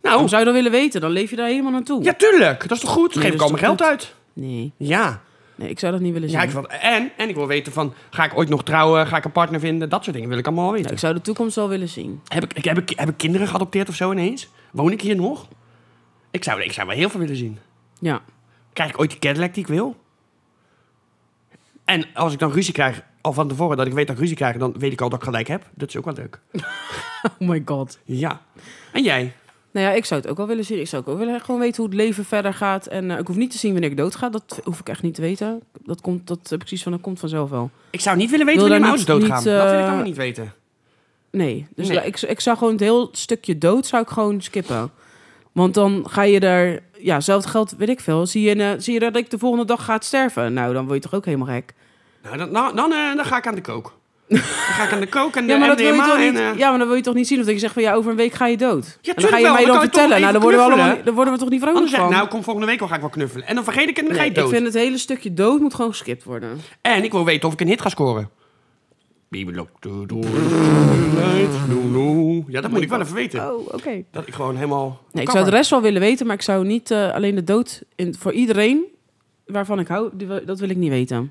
Waarom zou je dat willen weten? Dan leef je daar helemaal naartoe.
ja, tuurlijk. Dat is toch goed?
Nee,
Geef ik
dat
al
is
mijn
toch
geld uit.
Nee.
Ja.
nee, ik zou dat niet willen zien.
ja ik wil, en, en ik wil weten van, ga ik ooit nog trouwen? Ga ik een partner vinden? Dat soort dingen wil ik allemaal wel weten.
Nou, ik zou de toekomst wel willen zien.
Heb ik, ik- heb, ik, heb ik kinderen geadopteerd of zo ineens? Woon ik hier nog? Ik zou, ik zou wel heel veel willen zien.
Ja.
Krijg ik ooit die Cadillac die ik wil? En als ik dan ruzie krijg, al van tevoren dat ik weet dat ik ruzie krijg, dan weet ik al dat ik gelijk heb. Dat is ook wel leuk.
Oh my god.
Ja. En jij?
Nou ja, ik zou het ook wel willen zien. Ik zou ook wel willen gewoon weten hoe het leven verder gaat. En eh, ik hoef niet te zien wanneer ik dood ga. Dat hoef ik echt niet te weten. Dat, komt, dat heb ik zoiets van, dat komt vanzelf wel.
Ik zou niet willen weten
Wil
wanneer mijn
daar
ouders
niet-
doodgaan.
niet,
Dat wil ik
eh,
allemaal niet weten.
Nee. Dus
Nee.
la- Ik, ik zou gewoon het heel stukje dood zou ik gewoon skippen. Want dan ga je daar... Ja, hetzelfde geld, weet ik veel. Zie je, eh, zie je dat ik de volgende dag ga sterven? Nou, dan word je toch ook helemaal gek?
Nou, dan, nou, dan, eh, dan ga ik aan de kook. Dan ga ik aan de kook en de
Ja, maar dat wil je
MDMA
toch
en...
niet,
eh,
ja, maar dan wil je toch niet zien of dat je zegt van ja, over een week ga je dood.
Ja,
en dan
tuurlijk
ga je
wel,
mij
dan
dan
kan je toch
vertellen.
nog
Nou,
even
dan worden, we allemaal,
knuffelen,
niet- dan worden we toch niet vrolijk
Anders zeg ik,
van.
nou, kom volgende week wel, ga ik wel knuffelen. En dan vergeet ik het en dan ga je
Nee, ik
dood.
vind het hele stukje dood moet gewoon geskipt worden.
En ik wil weten of ik een hit ga scoren. Bibelok, doe, doe, doe, doe. Ja, dat moet ik wel even weten.
Oh, oké.
Dat ik gewoon helemaal...
Nee, ik zou de rest wel willen weten, maar ik zou niet eh, alleen de dood in, voor iedereen waarvan ik hou, die wil- dat wil ik niet weten.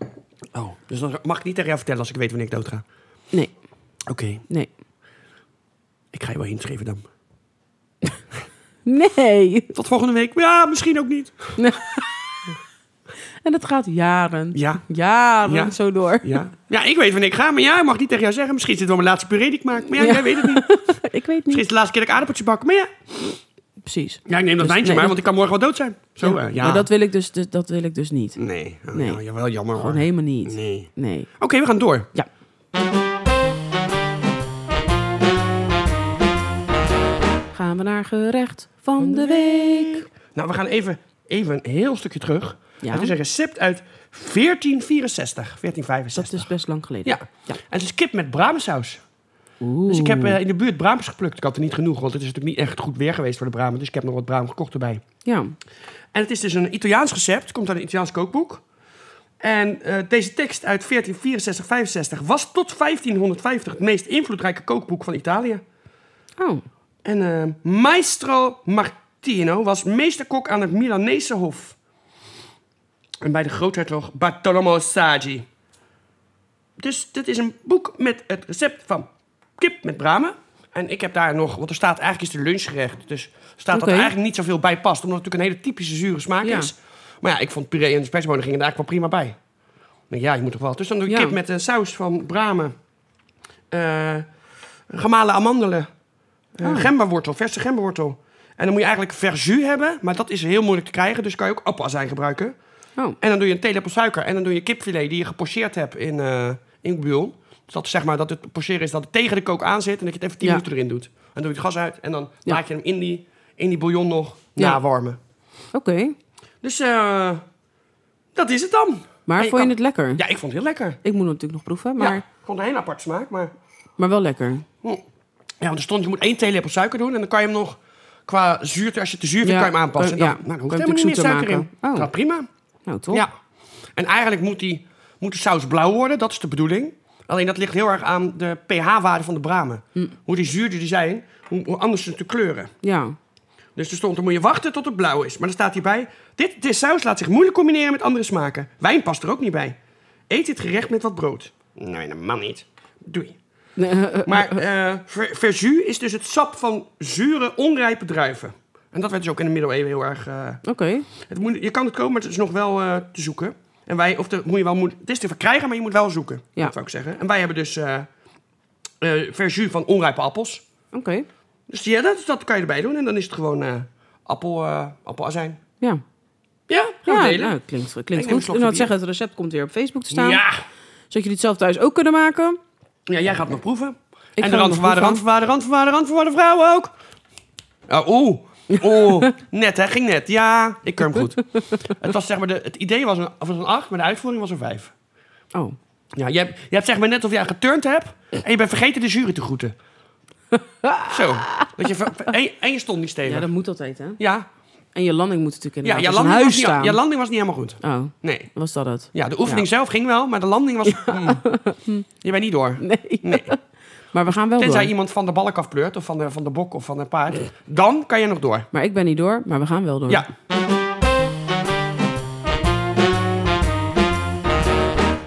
Oh, dus dan mag ik niet tegen jou vertellen als ik weet wanneer ik dood ga.
Nee,
Oké,
nee.
ik ga je wel inschrijven dan.
Nee.
Tot volgende week. Ja, misschien ook niet.
En dat gaat jaren.
Ja,
Jaren
Ja.
zo door.
ja. Ja, ik weet wanneer ik ga, maar ja, ik mag niet tegen jou zeggen. Misschien is dit wel mijn laatste puree die ik maak. Maar ja,
Ja.
jij weet het niet. Misschien
ik weet
is
niet.
het de laatste keer dat ik aardappeltje bak. Maar ja,
Precies.
ja ik neem dat wijntje
Dus- nee,
maar,
dat-
want ik kan morgen wel dood zijn. Zo, ja. ja.
Maar dat wil ik dus, dus- dat wil ik dus niet.
Nee, oh,
Nee.
Ja, wel jammer hoor.
Gewoon helemaal niet.
Nee.
Nee.
Oké, we gaan door.
Ja. Gaan we naar gerecht van de week.
Nou, we gaan even, even een heel stukje terug.
Ja.
Het is een recept uit 1464, 1465.
Dat is best lang geleden.
Ja. En het is kip met braamsaus.
Oeh.
Dus ik heb eh, in de buurt braams geplukt. Ik had er niet genoeg, want het is natuurlijk niet echt goed weer geweest voor de bramen. Dus ik heb nog wat braam gekocht erbij.
Ja.
En het is dus een Italiaans recept. Het komt uit een Italiaans kookboek. En eh, deze tekst uit 1464-65 was tot 1550 het meest invloedrijke kookboek van Italië.
Oh.
En eh, Maestro Martino was meesterkok aan het Milanese Hof. En bij de groothertog Bartolomeo Saggi. Dus dit is een boek met het recept van kip met bramen. En ik heb daar nog, want er staat eigenlijk is het een lunchgerecht. Dus staat dat
Oké.
er eigenlijk niet zoveel bij past. Omdat het natuurlijk een hele typische zure smaak
Ja.
is. Maar ja, ik vond puree en spesbonen gingen er eigenlijk wel prima bij. Ik denk, ja, je moet toch wel. Dus dan doe ik
Ja.
kip met een saus van bramen. eh, gemalen amandelen. eh,
Ah.
Gemberwortel, verse gemberwortel. En dan moet je eigenlijk verjus hebben. Maar dat is heel moeilijk te krijgen. Dus kan je ook appelazijn gebruiken.
Oh.
En dan doe je een theelepel suiker. En dan doe je kipfilet die je gepocheerd hebt in, eh in bouillon. Dus dat zeg maar dat het pocheren is dat het tegen de kook aan zit. En dat je het even 10
Ja.
minuten erin doet. En dan doe je het gas uit. En dan
Ja.
laat je hem in die, in die bouillon nog
Ja.
nawarmen.
Oké.
Dus eh, dat is het dan.
Maar
En
vond je
kan-
het lekker?
Ja, ik vond het heel lekker.
Ik moet het natuurlijk nog proeven, maar,
Ja, gewoon een hele aparte smaak, maar...
maar wel lekker.
Hm. Ja, want er stond, je moet één theelepel suiker doen en dan kan je hem nog... Qua zuurte, als je te zuur vindt,
Ja,
kan je hem aanpassen.
kan-
Dan-
ja,
nou, dan
kan
hoeft
je
helemaal niet meer
natuurlijk
suiker
zoeter
in.
maken. Oh.
Nou, prima.
Nou, toch?
Ja. En eigenlijk moet, die, moet de saus blauw worden, dat is de bedoeling. Alleen dat ligt heel erg aan de pH-waarde van de bramen. Hoe die zuurder die zijn, hoe, hoe anders ze te kleuren.
Ja.
Dus er stond, dan moet je wachten tot het blauw is. Maar dan staat hierbij, dit, dit saus laat zich moeilijk combineren met andere smaken. Wijn past er ook niet bij. Eet dit gerecht met wat brood. Nee, helemaal niet. Doei. Maar eh ver- verjus is dus het sap van zure, onrijpe druiven. En dat werd dus ook in de middeleeuwen heel erg... eh,
Oké.
het moet, je kan het komen, maar het is nog wel eh, te zoeken. En wij, of de, hoe je wel moet, het is te verkrijgen, maar je moet wel zoeken.
Ja.
Dat zou ik zeggen. En wij hebben dus eh eh, verjus van onrijpe appels.
Oké.
Dus ja, dat, dat kan je erbij doen. En dan is het gewoon eh, appel, eh, appelazijn.
Ja.
Ja, gaan we
Ja,
delen.
nou, klinkt,
een
klinkt goed.
slokje
Ik zou
bier.
zeggen, het recept komt weer op Facebook te staan.
Ja.
Zodat jullie het zelf thuis ook kunnen maken.
ja, jij gaat het nog proeven. en de
Ik ga het nog
randvoorwaarden,
proeven.
randvoorwaarden, randvoorwaarden, randvoorwaarden, vrouwen ook. Ah, Oeh, oeh. net hè, ging net. Ja, ik keur hem goed. het, was, zeg maar, de, het idee was een, was een 8, maar de uitvoering was een 5.
Oh,
Ja, je hebt, je hebt zeg maar net of jij geturnd hebt en je bent vergeten de jury te groeten. Zo. Dat je, ver- ver- en, en je stond niet stevig.
ja,
Ja,
dat moet altijd, hè?
ja,
En je landing moet natuurlijk
ja,
inderdaad
je,
als een
landing
huis
was niet,
staan.
je landing was niet helemaal goed.
Oh,
Nee.
was dat het?
Ja, de oefening zelf ging wel, maar de landing was... Mm. Je bent niet door.
Nee.
Nee.
Maar we gaan wel
Tenzij
door.
iemand van de balk afpleurt, of van de, van de bok of van een paard. Dan kan je nog door.
Maar ik ben niet door, maar we gaan wel door.
Ja.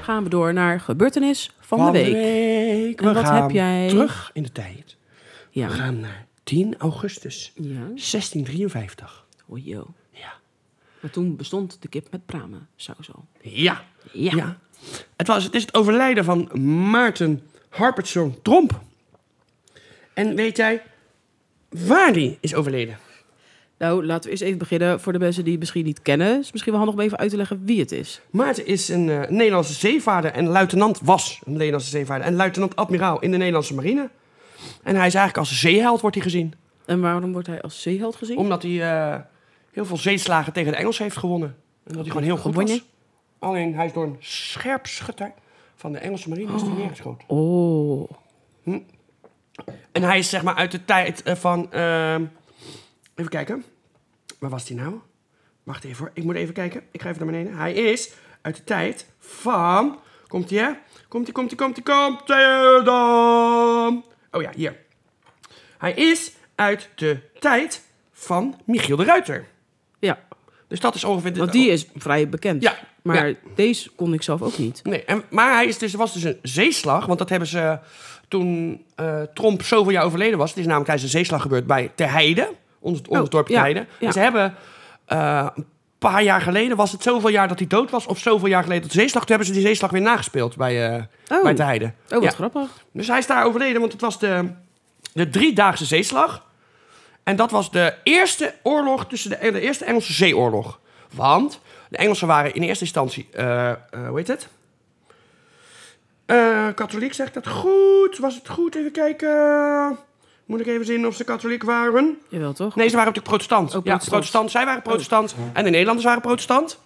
Gaan we door naar gebeurtenis van, de week.
We
En wat
gaan
heb jij?
terug in de tijd.
Ja.
We gaan naar 10 augustus
Ja.
1653.
Oh, yo.
Ja.
Maar toen bestond de kip met pramen saus al.
Ja.
Ja.
Ja. Het, was, het is het overlijden van Maarten Harpertson Tromp. En weet jij waar die is overleden?
Nou, laten we eerst even beginnen voor de mensen die het misschien niet kennen. Is misschien wel handig om even uit te leggen wie het is.
Maarten is een eh, Nederlandse zeevaarder en luitenant was een Nederlandse zeevaarder en luitenant-admiraal in de Nederlandse marine. En hij is eigenlijk als zeeheld wordt hij gezien,
En waarom wordt hij als zeeheld gezien?
omdat hij eh, heel veel zeeslagen tegen de Engelsen heeft gewonnen. En dat hij gewoon heel goed
Gewonnen?
was. Alleen hij is door een scherp schutter van de Engelse marine is hij neergeschoten.
Oh.
En hij is zeg maar uit de tijd eh, van. ehm, even kijken. Waar was hij nou? Wacht even hoor. Ik moet even kijken. Ik ga even naar beneden. Hij is uit de tijd van. Komt hij hè? Komt hij, komt hij, komt hij, komt hij dan? Oh ja, hier. Hij is uit de tijd van Michiel de Ruiter.
Ja,
Dus dat is ongeveer. de-
want die is vrij bekend.
Ja,
Maar deze kon ik zelf ook niet.
Nee, en, maar hij is dus, er was dus een zeeslag. Want dat hebben ze eh, toen eh, Tromp zoveel jaar overleden was. Het is namelijk tijdens een zeeslag gebeurd bij Ter Heide. Ons, ons
Oh,
dorp Ter
ja,
Heide.
ja.
En ze hebben eh, een paar jaar geleden, was het zoveel jaar dat hij dood was... of zoveel jaar geleden dat de zeeslag... toen hebben ze die zeeslag weer nagespeeld bij, eh
Oh.
bij Ter Heide.
Oh, wat
Ja.
grappig.
Dus hij is daar overleden, want het was de, de driedaagse zeeslag. En dat was de eerste oorlog tussen de, de eerste Engelse zeeoorlog. Want de Engelsen waren in eerste instantie, eh, eh, hoe heet het? Eh, katholiek zegt dat goed. Was het goed? Even kijken. Moet ik even zien of ze katholiek waren?
Jawel, toch?
Nee, ze waren natuurlijk protestant. Ja,
protestant.
protestant. Zij waren protestant en de Nederlanders waren protestant.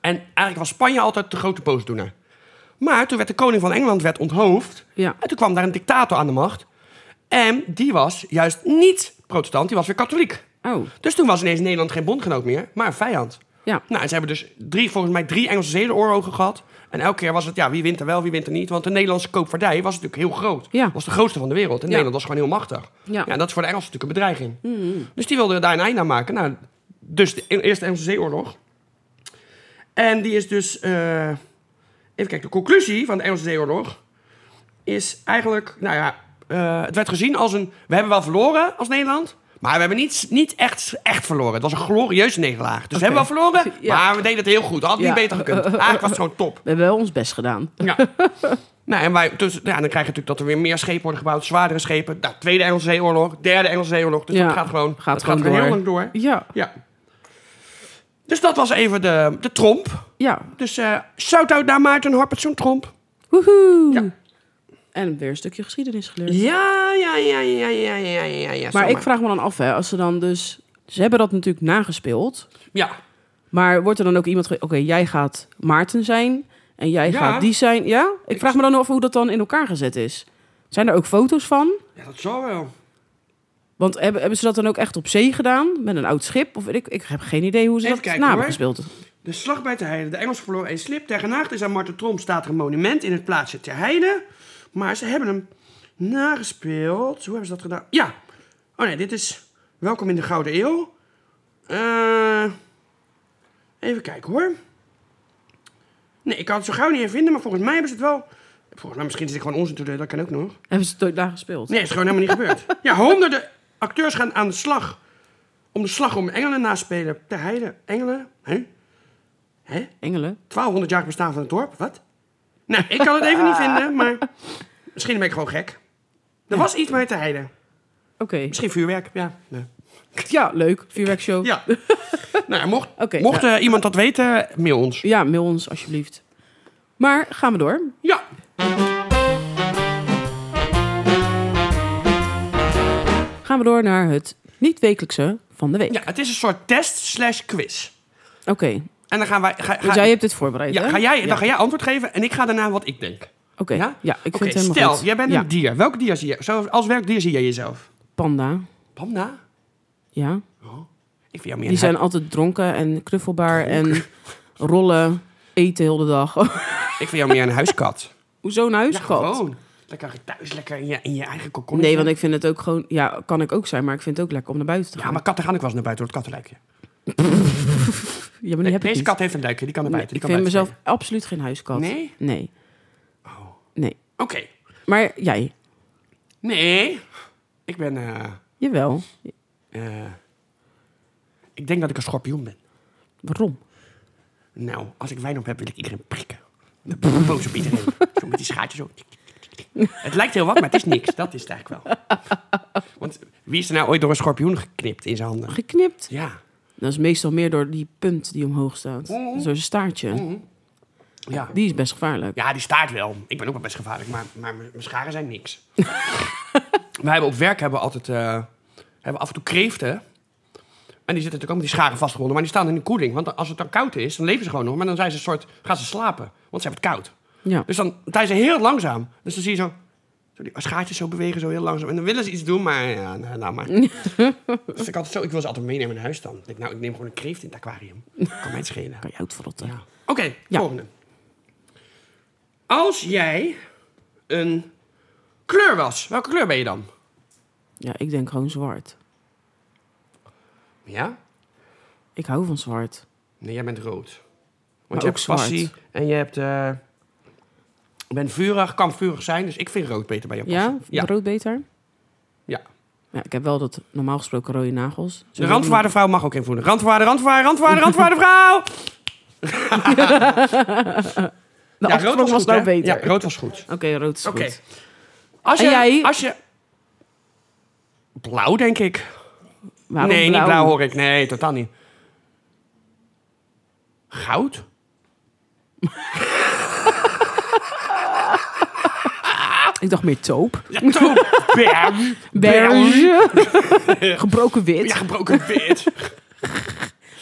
En eigenlijk was Spanje altijd de grote boosdoener. Maar toen werd de koning van Engeland werd onthoofd.
Ja.
En Eh, toen kwam daar een dictator aan de macht. En die was juist niet protestant, die was weer katholiek.
Oh,
Dus toen was ineens Nederland geen bondgenoot meer, maar een vijand.
ja.
Nou, en ze hebben dus drie, volgens mij drie Engelse zedenoorlogen gehad. En elke keer was het, ja, wie wint er wel, wie wint er niet. Want de Nederlandse koopvaardij was natuurlijk heel groot.
Ja.
Was de grootste van de wereld. En
Ja.
Nederland was gewoon heel machtig.
Ja. Mm-hmm.
en dat is voor de Engelsen natuurlijk een bedreiging. Dus die wilden daar een einde aan maken. Nou, dus de Eerste Engelse Zeeoorlog. En die is dus... eh, even kijken, de conclusie van de Engelse Zeeoorlog... is eigenlijk, nou ja... eh, het werd gezien als een... We hebben wel verloren als Nederland... Maar we hebben niet, niet echt, echt verloren. Het was een glorieuze nederlaag. Dus we hebben wel verloren,
Ja.
maar we deden het heel goed. Had niet
Ja.
beter gekund. Eigenlijk was het gewoon top.
We hebben wel ons best gedaan.
Ja. nou, en wij, dus, ja, dan krijg je natuurlijk dat er weer meer schepen worden gebouwd, zwaardere schepen. Nou, Tweede Engelse Zeeoorlog, Derde Engelse Zeeoorlog. Dus
Ja.
dat gaat gewoon,
Gaat
dat
gewoon
gaat weer heel
door.
lang door.
Ja,
Ja. Dus dat was even de, de tromp.
ja.
Dus eh shout-out naar Maarten Harpertson Tromp.
Woehoe.
Ja.
En weer een stukje geschiedenis geleerd.
Ja, ja, ja, ja, ja, ja, ja. ja
maar
zomaar.
ik vraag me dan af, hè, als ze dan dus... Ze hebben dat natuurlijk nagespeeld.
Ja,
Maar wordt er dan ook iemand... ge- Oké, jij gaat Maarten zijn en jij
Ja.
gaat die zijn. Ja? Ik vraag me dan af hoe dat dan in elkaar gezet is. Zijn er ook foto's van?
ja, dat zal wel.
Want hebben, hebben ze dat dan ook echt op zee gedaan? Met een oud schip? Of weet ik, ik heb geen idee hoe ze
Even
dat
kijken,
na hebben
hoor.
gespeeld.
De slag bij Ter Heide. De Engels verloren een slip. Ter genaagd is aan Marten Tromp staat er een monument in het plaatsje Ter Heide. Maar ze hebben hem nagespeeld. Hoe hebben ze dat gedaan? Ja. Oh nee, dit is Welkom in de Gouden Eeuw. Eh, even kijken hoor. Nee, ik kan het zo gauw niet even vinden, maar volgens mij hebben ze het wel... Volgens mij misschien zit ik gewoon onzin te doen, dat kan ook nog.
Hebben ze het ooit nagespeeld?
Nee, is gewoon helemaal niet gebeurd. Ja, honderden acteurs gaan aan de slag. Om de slag om Engelen na te spelen. Ter Heide, Engelen. Hè? Hè?
Engelen.
1200 jaar bestaan van het dorp? Wat? Nou, ik kan het even niet vinden, maar misschien ben ik gewoon gek. Er was iets mee te heiden.
Oké.
Misschien vuurwerk, ja. Nee.
Ja, leuk. Vuurwerkshow.
Ja. nou, ja, mocht,
Oké,
mocht eh, iemand dat weten, mail ons.
Ja, mail ons alsjeblieft. Maar gaan we door.
Ja.
Gaan we door naar het niet-wekelijkse van de week.
ja, het is een soort test slash quiz.
Oké,
En dan gaan wij... Ga, ga-
dus jij hebt dit voorbereid,
ja,
hè?
ga jij, Dan ga jij antwoord geven en ik ga daarna wat ik denk.
Oké,
Ja?
ja? ik vind
Oké,
het helemaal
stel,
goed.
jij bent
Ja,
een dier. Welk dier zie je? Zo, als welk dier zie jij jezelf?
panda.
Panda?
Ja,
Ik vind jou meer
die zijn altijd dronken en knuffelbaar en rollen, eten heel de dag.
een, ik vind jou meer een huiskat.
Hoezo een
Ja,
huiskat?
gewoon. Lekker thuis, lekker in je, in je eigen kokon.
nee, want ik vind het ook gewoon... Ja, kan ik ook zijn, maar ik vind het ook lekker om naar buiten te
Ja,
gaan.
maar katten gaan ook wel eens naar buiten door het kattenluikje.
Ja, maar
Nee,
die Oh, heb ik
deze
niet.
kat heeft een luikje, die kan naar
Nee,
buiten.
ik
die kan
vind
buiten
mezelf absoluut geen huiskat.
Nee? Oh.
Nee. Nee.
spelen. Oké.
Maar jij?
Nee. Ik ben... eh,
Jawel.
eh, ik denk dat ik een schorpioen ben.
Waarom?
Nou, als ik wijn op heb, wil ik iedereen prikken. Dan ben ik boos op iedereen. zo met die schaartjes zo. Tik, tik, tik, tik. Het lijkt heel wat, maar het is niks. Dat is het eigenlijk wel. Want wie is er nou ooit door een schorpioen geknipt in zijn handen?
Geknipt.
Ja.
Dat is meestal meer door die punt die omhoog staat.
Mm-hmm.
Dus door zijn staartje.
Ja.
Die is best gevaarlijk.
Mm-hmm. Ja, die staart wel. Ik ben ook wel best gevaarlijk, maar, maar mijn mijn scharen zijn niks. Wij hebben op werk hebben we altijd eh, hebben we af en toe kreeften. En die zitten natuurlijk ook met die scharen vastgebonden, maar die staan in de koeling. Want als het dan koud is, dan leven ze gewoon nog. Maar dan zijn ze een soort, gaan ze slapen, want ze hebben het koud.
Ja.
Dus dan zijn ze heel langzaam. Dus dan zie je zo, zo die schaartjes zo bewegen, zo heel langzaam. En dan willen ze iets doen, maar ja, nou, nou maar. dus ik, altijd zo, ik wil ze altijd meenemen naar huis dan. Ik denk, nou, ik neem gewoon een kreeft in het aquarium. Kan mij het schelen.
Kan je uitverrotten.
Ja. Oké,
Ja.
volgende. Als jij een kleur was, welke kleur ben je dan?
Ja, ik denk gewoon zwart.
Ja?
Ik hou van zwart.
Nee, jij bent rood.
Maar
Want je
ook
hebt
zwart.
passie en je hebt... eh, je bent vurig, kan vurig zijn, dus ik vind rood beter bij jou
Ja?
passen. Ja,
Rood beter?
ja.
Ja, ik heb wel dat normaal gesproken rode nagels.
De randwaardenvrouw mag ook invoeren. Randwaarde, randwaarde, randwaarde, randwaardenvrouw!
De
Ja,
achtergrond was
goed,
nou
hè?
beter.
Ja, rood was goed.
Oké, rood is
Oké.
goed.
Als
En
je,
jij?
Als je... Blauw, denk ik.
Waarom
nee, niet blauw hoor ik. Nee, totaal niet. Goud?
Ik dacht meer taupe.
Ja, taupe. Beige.
Beige. Gebroken wit.
Ja, gebroken wit.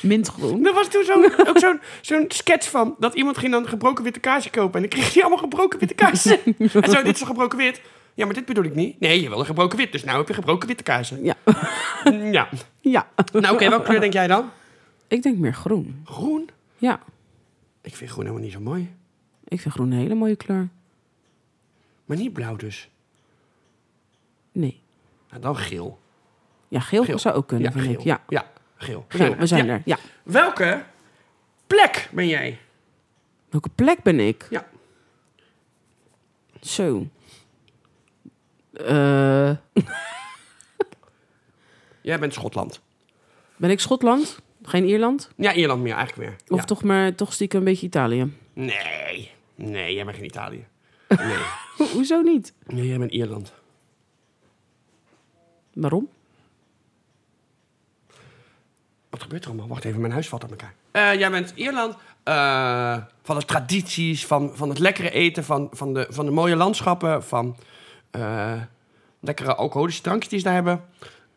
Mintgroen.
Er was toen zo'n, ook zo'n, zo'n sketch van dat iemand ging dan gebroken witte kaarsen kopen. En dan kreeg hij allemaal gebroken witte kaarsen. en zo, dit is een gebroken wit. Ja, maar dit bedoel ik niet. Nee, je wil een gebroken wit. Dus nou heb je gebroken witte kaarsen.
Ja.
Ja.
ja.
Nou oké, welke kleur denk jij dan?
Ik denk meer groen.
Groen?
Ja.
Ik vind groen helemaal niet zo mooi.
Ik vind groen een hele mooie kleur.
Maar niet blauw dus.
Nee.
Nou, dan geel.
Ja, geel,
Geel.
zou ook kunnen,
ja,
vind
geel.
ik. Ja.
ja, geel.
Nou, we zijn
Ja.
er. Ja.
Welke plek ben jij?
Welke plek ben ik?
Ja.
Zo. Eh,
Jij bent Schotland.
ben ik Schotland? Geen Ierland?
Ja, Ierland meer eigenlijk weer.
Of
Ja.
toch maar toch stiekem een beetje Italië?
Nee. Nee, jij bent geen Italië. Nee.
Ho- hoezo niet?
nee, jij bent Ierland.
Waarom?
Wat gebeurt er allemaal? Wacht even, mijn huis valt aan elkaar. Eh, jij bent Ierland. eh, van de tradities, van, van het lekkere eten, van, van, de, van de mooie landschappen, van eh, lekkere alcoholische drankjes die ze daar hebben.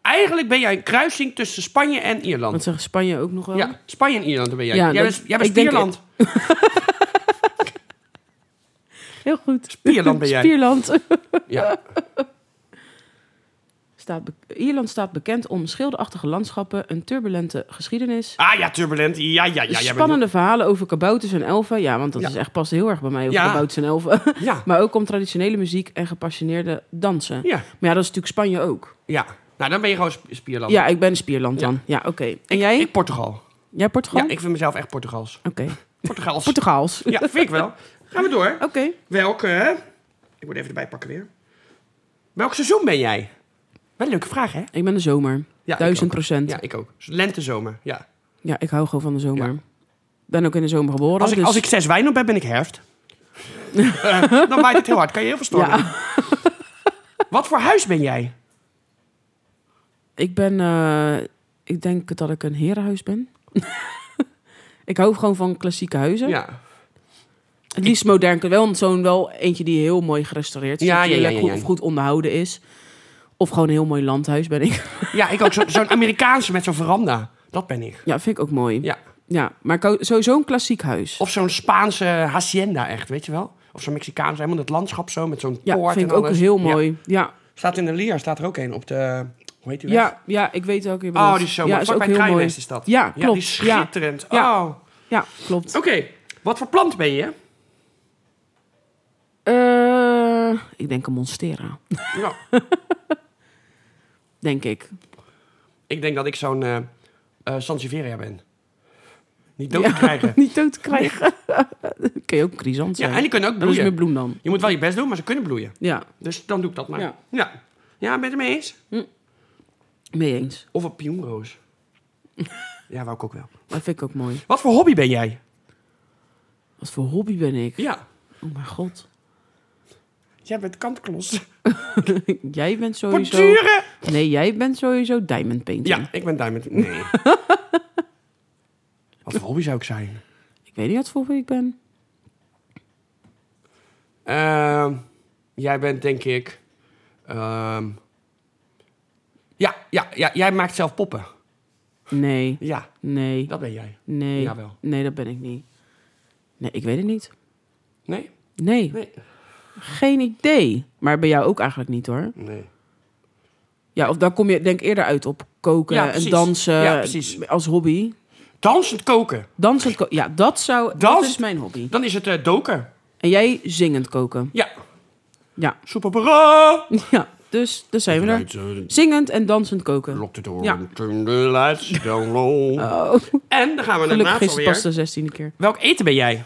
Eigenlijk ben jij een kruising tussen Spanje en
Want
Ierland.
zegt Spanje ook nog wel?
Ja, Spanje en Ierland daar ben jij.
Ja,
jij
dat-
bent, jij bent
ik denk
Spierland.
Heel goed.
Spierland ben jij.
Spierland.
Ja.
Staat be- Ierland staat bekend om schilderachtige landschappen, een turbulente geschiedenis,
Ah ja, turbulent. Ja, ja, ja. jij bent-
spannende verhalen over kabouters en elfen. Ja, want dat
Ja.
is echt past heel erg bij mij over
Ja.
kabouters en elfen.
Ja.
maar ook om traditionele muziek en gepassioneerde dansen.
Ja.
Maar ja, dat is natuurlijk Spanje ook.
Ja, nou dan ben je gewoon sp- Spierland.
Ja, ik ben Spierland dan. Ja, oké. En jij?
Ik Portugal.
jij Portugal?
Ja, ik vind mezelf echt Portugals.
Oké.
Portugals.
Portugaals.
ja, vind ik wel. Gaan we door.
Oké.
Welke? Ik moet even erbij pakken weer. Welk seizoen ben jij? Wel een leuke vraag, hè?
Ik ben de zomer.
Ja, ik
Duizend Oh,
ook. Dus
procent. Ja.
Ja, ik ook. Lente, zomer. Ja.
ik hou gewoon van de zomer. ben ook in de zomer geboren.
Als ik,
dus-
als ik zes wijn op heb, ben ik herfst. Eh, dan waait het heel hard. Kan je heel veel stormen.
ja,
Wat voor huis ben jij?
ik ben, eh, ik denk dat ik een herenhuis ben. ik hou gewoon van klassieke huizen.
Ja.
Het liefst modern. Wel zo'n wel eentje die heel mooi gerestaureerd is.
Ja, ja, ja,
natuurlijk,
ja,
goed-
ja.
Of goed onderhouden is. Of gewoon een heel mooi landhuis ben ik.
ja, ik ook. Zo- Zo'n Amerikaanse met zo'n veranda. Dat ben ik.
Ja, vind ik ook mooi.
Ja.
Ja, maar ik hou sowieso een klassiek huis.
Of zo'n Spaanse hacienda echt, weet je wel? Of zo'n Mexicaanse, helemaal het landschap zo met zo'n
ja,
poort
vind
en
ik ook
alles.
heel
Ja.
mooi. Ja,
Staat in de leer, staat er ook een op de... Hoe heet die
ja,
weg?
ja, ik weet ook.
Oh, die is zo mooi.
Ja, is
Vlak
ook
bij het
heel mooi.
Kruiwest is dat.
Ja, klopt.
die is schitterend.
Ja.
Oh.
Ja, klopt.
Oké, wat voor plant ben je?
Eh, ik denk een monstera,
Nou,
denk ik.
ik denk dat ik zo'n eh eh, Sansevieria ben. Niet dood te krijgen.
Niet dood te krijgen. Kun je ook crisant zijn.
Ja, en die kunnen ook
dat is meer
bloeien.
bloem dan.
Je moet wel je best doen, maar ze kunnen bloeien.
Ja,
Dus dan doe ik dat maar.
Ja.
Ja, ja. ben je het ermee eens?
mee eens.
Of een pioenroos. ja, wou ik ook wel.
Dat vind ik ook mooi.
Wat voor hobby ben jij?
Wat voor hobby ben ik?
Ja,
Oh mijn god.
jij bent kantklos.
jij bent sowieso...
Borduren!
Nee, jij bent sowieso diamond painting.
Ja, ik ben diamond. Nee. Wat voor hobby zou ik zijn?
Ik weet niet wat voor hobby ik ben.
Ehm, jij bent denk ik... ehm, ja, ja, ja, jij maakt zelf poppen.
Nee,
Ja,
nee,
dat ben jij.
nee.
Jawel.
Nee, dat ben ik niet. Nee, ik weet het niet.
Nee?
Nee,
Nee.
geen idee. Maar bij jou ook eigenlijk niet hoor.
Nee.
Ja, of dan kom je denk ik eerder uit op koken
Ja,
en
precies.
dansen
Ja, precies.
als hobby.
Dansend koken.
Dansend koken, ja, dat zou... Dat
Dans-
is mijn hobby.
Dan is het eh, doken.
En jij zingend koken.
Ja.
Ja,
Super bra!
ja. Dus, dus zijn we er. Zingend en dansend koken.
Lock the door
Ja.
and turn the lights down low. En dan gaan we naar
Gelukkig
naast
is het pas
alweer.
de zestiende keer.
Welk eten ben jij?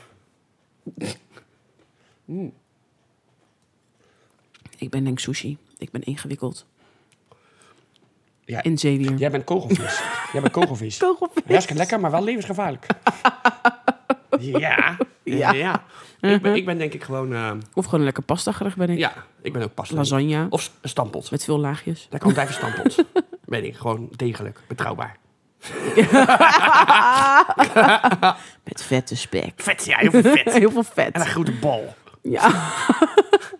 Ik ben denk ik sushi. Ik ben ingewikkeld.
Ja,
In zeewier.
Jij bent kogelvis. jij bent kogelvis.
Kogelvis.
Hartstikke lekker, maar wel levensgevaarlijk. ja.
Ja.
Ja. Uh-huh. Ik, ben, ik ben denk ik gewoon... eh,
Of gewoon een lekker pasta gerecht ben ik.
ja, ik ben ook pasta.
Lasagne.
Of s- stampot.
Met veel laagjes.
Lekker ontbijt stampot. ben ik gewoon degelijk, betrouwbaar.
Met vette spek.
Vet, ja, heel veel vet.
Heel veel
en een
vet.
grote bal.
Ja.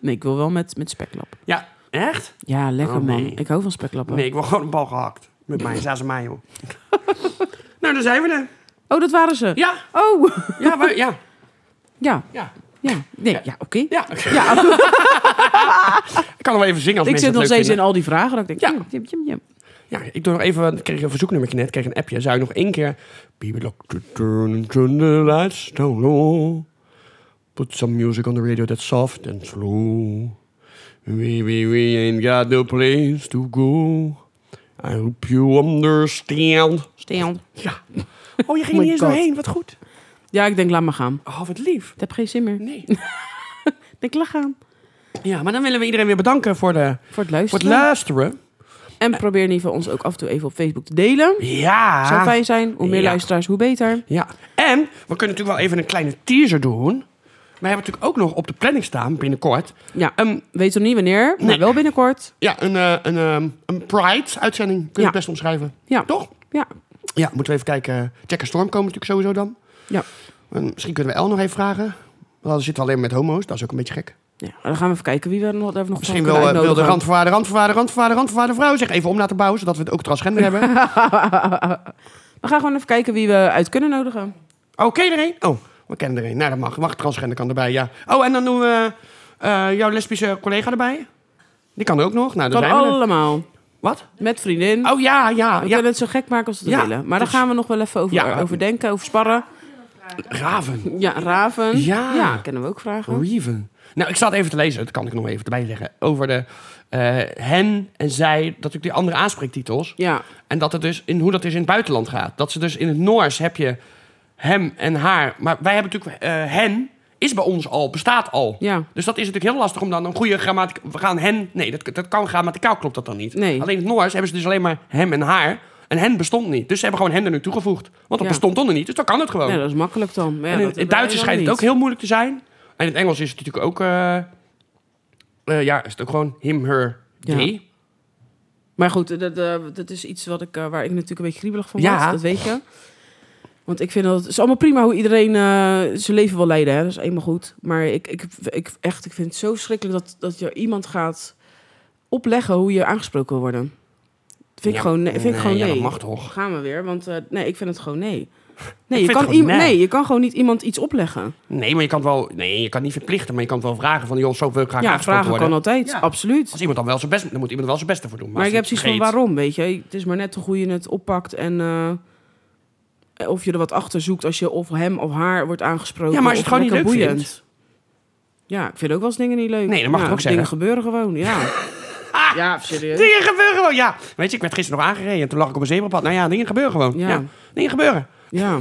Nee, ik wil wel met, met speklap.
Ja, echt?
Ja, lekker
Oh, nee.
man. Ik hou van speklappen.
Nee, ik wil gewoon een bal gehakt. Met mij, zazen mij, joh. nou, daar zijn we er.
Oh, dat waren ze.
Ja,
Oh.
ja, we- ja.
Ja.
Ja.
Ja. Nee, ja, oké.
Ja. ik kan nog wel even zingen als
Ik
mensen dat leuk
zit nog steeds in
vinden.
al die vragen. Dat ik denk, "Mm,
Ja.
jim, jim, jim, jim.
Ja, ik doe nog even... Ik kreeg een verzoeknummertje net. Ik kreeg een appje. Zou je nog één keer... Be the lock to turn and turn the lights down low. Put some music on the radio that's soft and slow. We, we, we ain't got no place to go. I hope you understand.
Stil.
Ja. Oh, je ging
My
niet eens
God.
doorheen. Wat goed.
Ja, ik denk, laat maar gaan.
Oh, wat lief.
Ik heb geen zin meer.
Nee.
Ik denk, laat gaan.
Ja, maar dan willen we iedereen weer bedanken voor, de,
Voor
voor
het luisteren.
het luisteren.
en probeer in ieder geval ons ook af en toe even op Facebook te delen.
Ja.
Zou fijn zijn. Hoe meer
Ja.
luisteraars, hoe beter.
Ja, en we kunnen natuurlijk wel even een kleine teaser doen. We hebben natuurlijk ook nog op de planning staan binnenkort.
Ja.
Ehm,
Weet nog niet wanneer, maar
Nee.
wel binnenkort.
ja, een, eh, een, ehm, een Pride-uitzending kunnen we
Ja.
het best omschrijven.
Ja.
Toch?
Ja.
Ja, moeten we even kijken. Jack en Storm komen natuurlijk sowieso dan.
Ja.
En misschien kunnen we El nog even vragen. Want dan zitten we alleen met homo's, dat is ook een beetje gek.
Ja, dan gaan we even kijken wie we er nog even nog
Misschien
kunnen
wil, eh, wil de
uitnodigen.
randvoorwaarder, randvoorwaarder, randvoorwaarder, randvoorwaarder vrouw zich even om laten bouwen. Zodat we het ook transgender hebben. Oké,
We gaan gewoon even kijken wie we uit kunnen nodigen.
er één? Oh, we kennen er één. Nou, dat mag. Mag transgender kan erbij, ja. Oh, en dan doen we eh, jouw lesbische collega erbij. Die kan er ook nog. Nou, daar
Kan
zijn we er.
allemaal.
Wat?
Met vriendin.
Oh ja, ja,
we
ja.
kunnen het zo gek maken als we het
Ja,
willen. Maar daar
dus-
gaan we nog wel even over, eh,
Ja.
over denken, over sparren.
Raven.
Ja, raven.
Ja.
kennen we ook vragen.
Raven. Nou, ik zat even te lezen, dat kan ik nog even erbij zeggen. Over de eh, hen en zij, dat ik die andere aanspreektitels.
Ja,
En dat het dus in hoe dat is in het buitenland gaat. Dat ze dus in het Noors heb je hem en haar. Maar wij hebben natuurlijk eh, hen is bij ons al, bestaat al.
ja.
Dus dat is natuurlijk heel lastig om dan een goede grammatica... We gaan hen... Nee, dat, dat kan grammaticaal klopt dat dan niet.
Nee.
Alleen in het Noors hebben ze dus alleen maar hem en haar. En hen bestond niet. Dus ze hebben gewoon hen er nu toegevoegd. Want dat
Ja.
bestond onder niet. Dus dat kan het gewoon.
Ja, dat is makkelijk dan. Maar ja,
en in
dat-
in het Duits
dat-
schijnt het
dat
ook heel moeilijk te zijn. En in het Engels is het natuurlijk ook... eh, eh, ja, is het ook gewoon him, her,
Ja.
they.
Maar goed, dat, eh, dat is iets wat ik, eh, waar ik natuurlijk een beetje kriebelig van
Ja.
was. Dat weet je. Want ik vind dat... Het is allemaal prima hoe iedereen eh, zijn leven wil leiden. Hè? Dat is eenmaal goed. Maar ik, ik, ik, echt, ik vind het zo schrikkelijk dat, dat je iemand gaat opleggen hoe je aangesproken wil worden. Dat vind ik
Ja,
gewoon nee. Vind ik gewoon
ja,
nee.
dat mag toch.
Gaan we weer. Want eh, nee, ik vind het gewoon nee.
Ik
Nee je,
vind
kan
het gewoon
iem-
nee.
nee, je kan gewoon niet iemand iets opleggen.
Nee, maar je kan het wel... Nee, je kan het niet verplichten. Maar je kan het wel vragen van... Joh, zo wil ik graag
Ja,
aangesproken
vragen
worden.
kan altijd.
Ja.
Absoluut.
Als iemand dan wel zijn best... Dan moet iemand er wel zijn best voor doen. Maar,
Maar
als
ik heb
hij
zoiets van
het
waarom, weet je. Het is maar net hoe je het oppakt en eh, of je er wat achter zoekt als je of hem of haar wordt aangesproken.
Ja, maar als je het
of
gewoon niet
lekker
leuk
boeiend. Ja, ik vind ook wel eens dingen niet leuk.
Nee, dat mag
ja,
ik ook
Dingen
zeggen.
gebeuren gewoon, ja. ja, serieus.
Dingen gebeuren gewoon, ja. Weet je, ik werd gisteren nog aangereden en toen lag ik op een zebrapad. Nou ja, dingen gebeuren gewoon. Ja.
Ja.
dingen gebeuren.
Ja,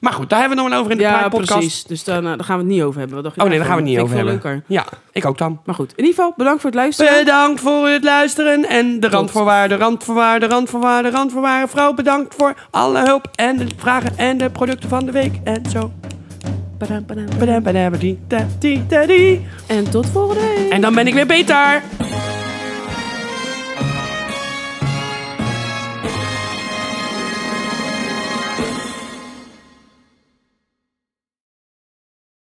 Maar goed, daar hebben we het nog wel over in de
ja
podcast.
precies. Dus dan, eh, daar gaan we het niet over hebben. Wat dacht je
Oh nee, daar gaan we
daarvan?
het niet over
Vind
hebben.
ik veel leuker.
Ja, ik ook dan.
Maar goed, in ieder geval, bedankt voor het luisteren.
Bedankt voor het luisteren en de randvoorwaarden, randvoorwaarden, randvoorwaarden, randvoorwaarden. Vrouw, bedankt voor alle hulp en de vragen en de producten van de week en zo. Badam, badam, badam, badam, badam, die, da, die, da, die.
En tot volgende week.
En dan ben ik weer beter.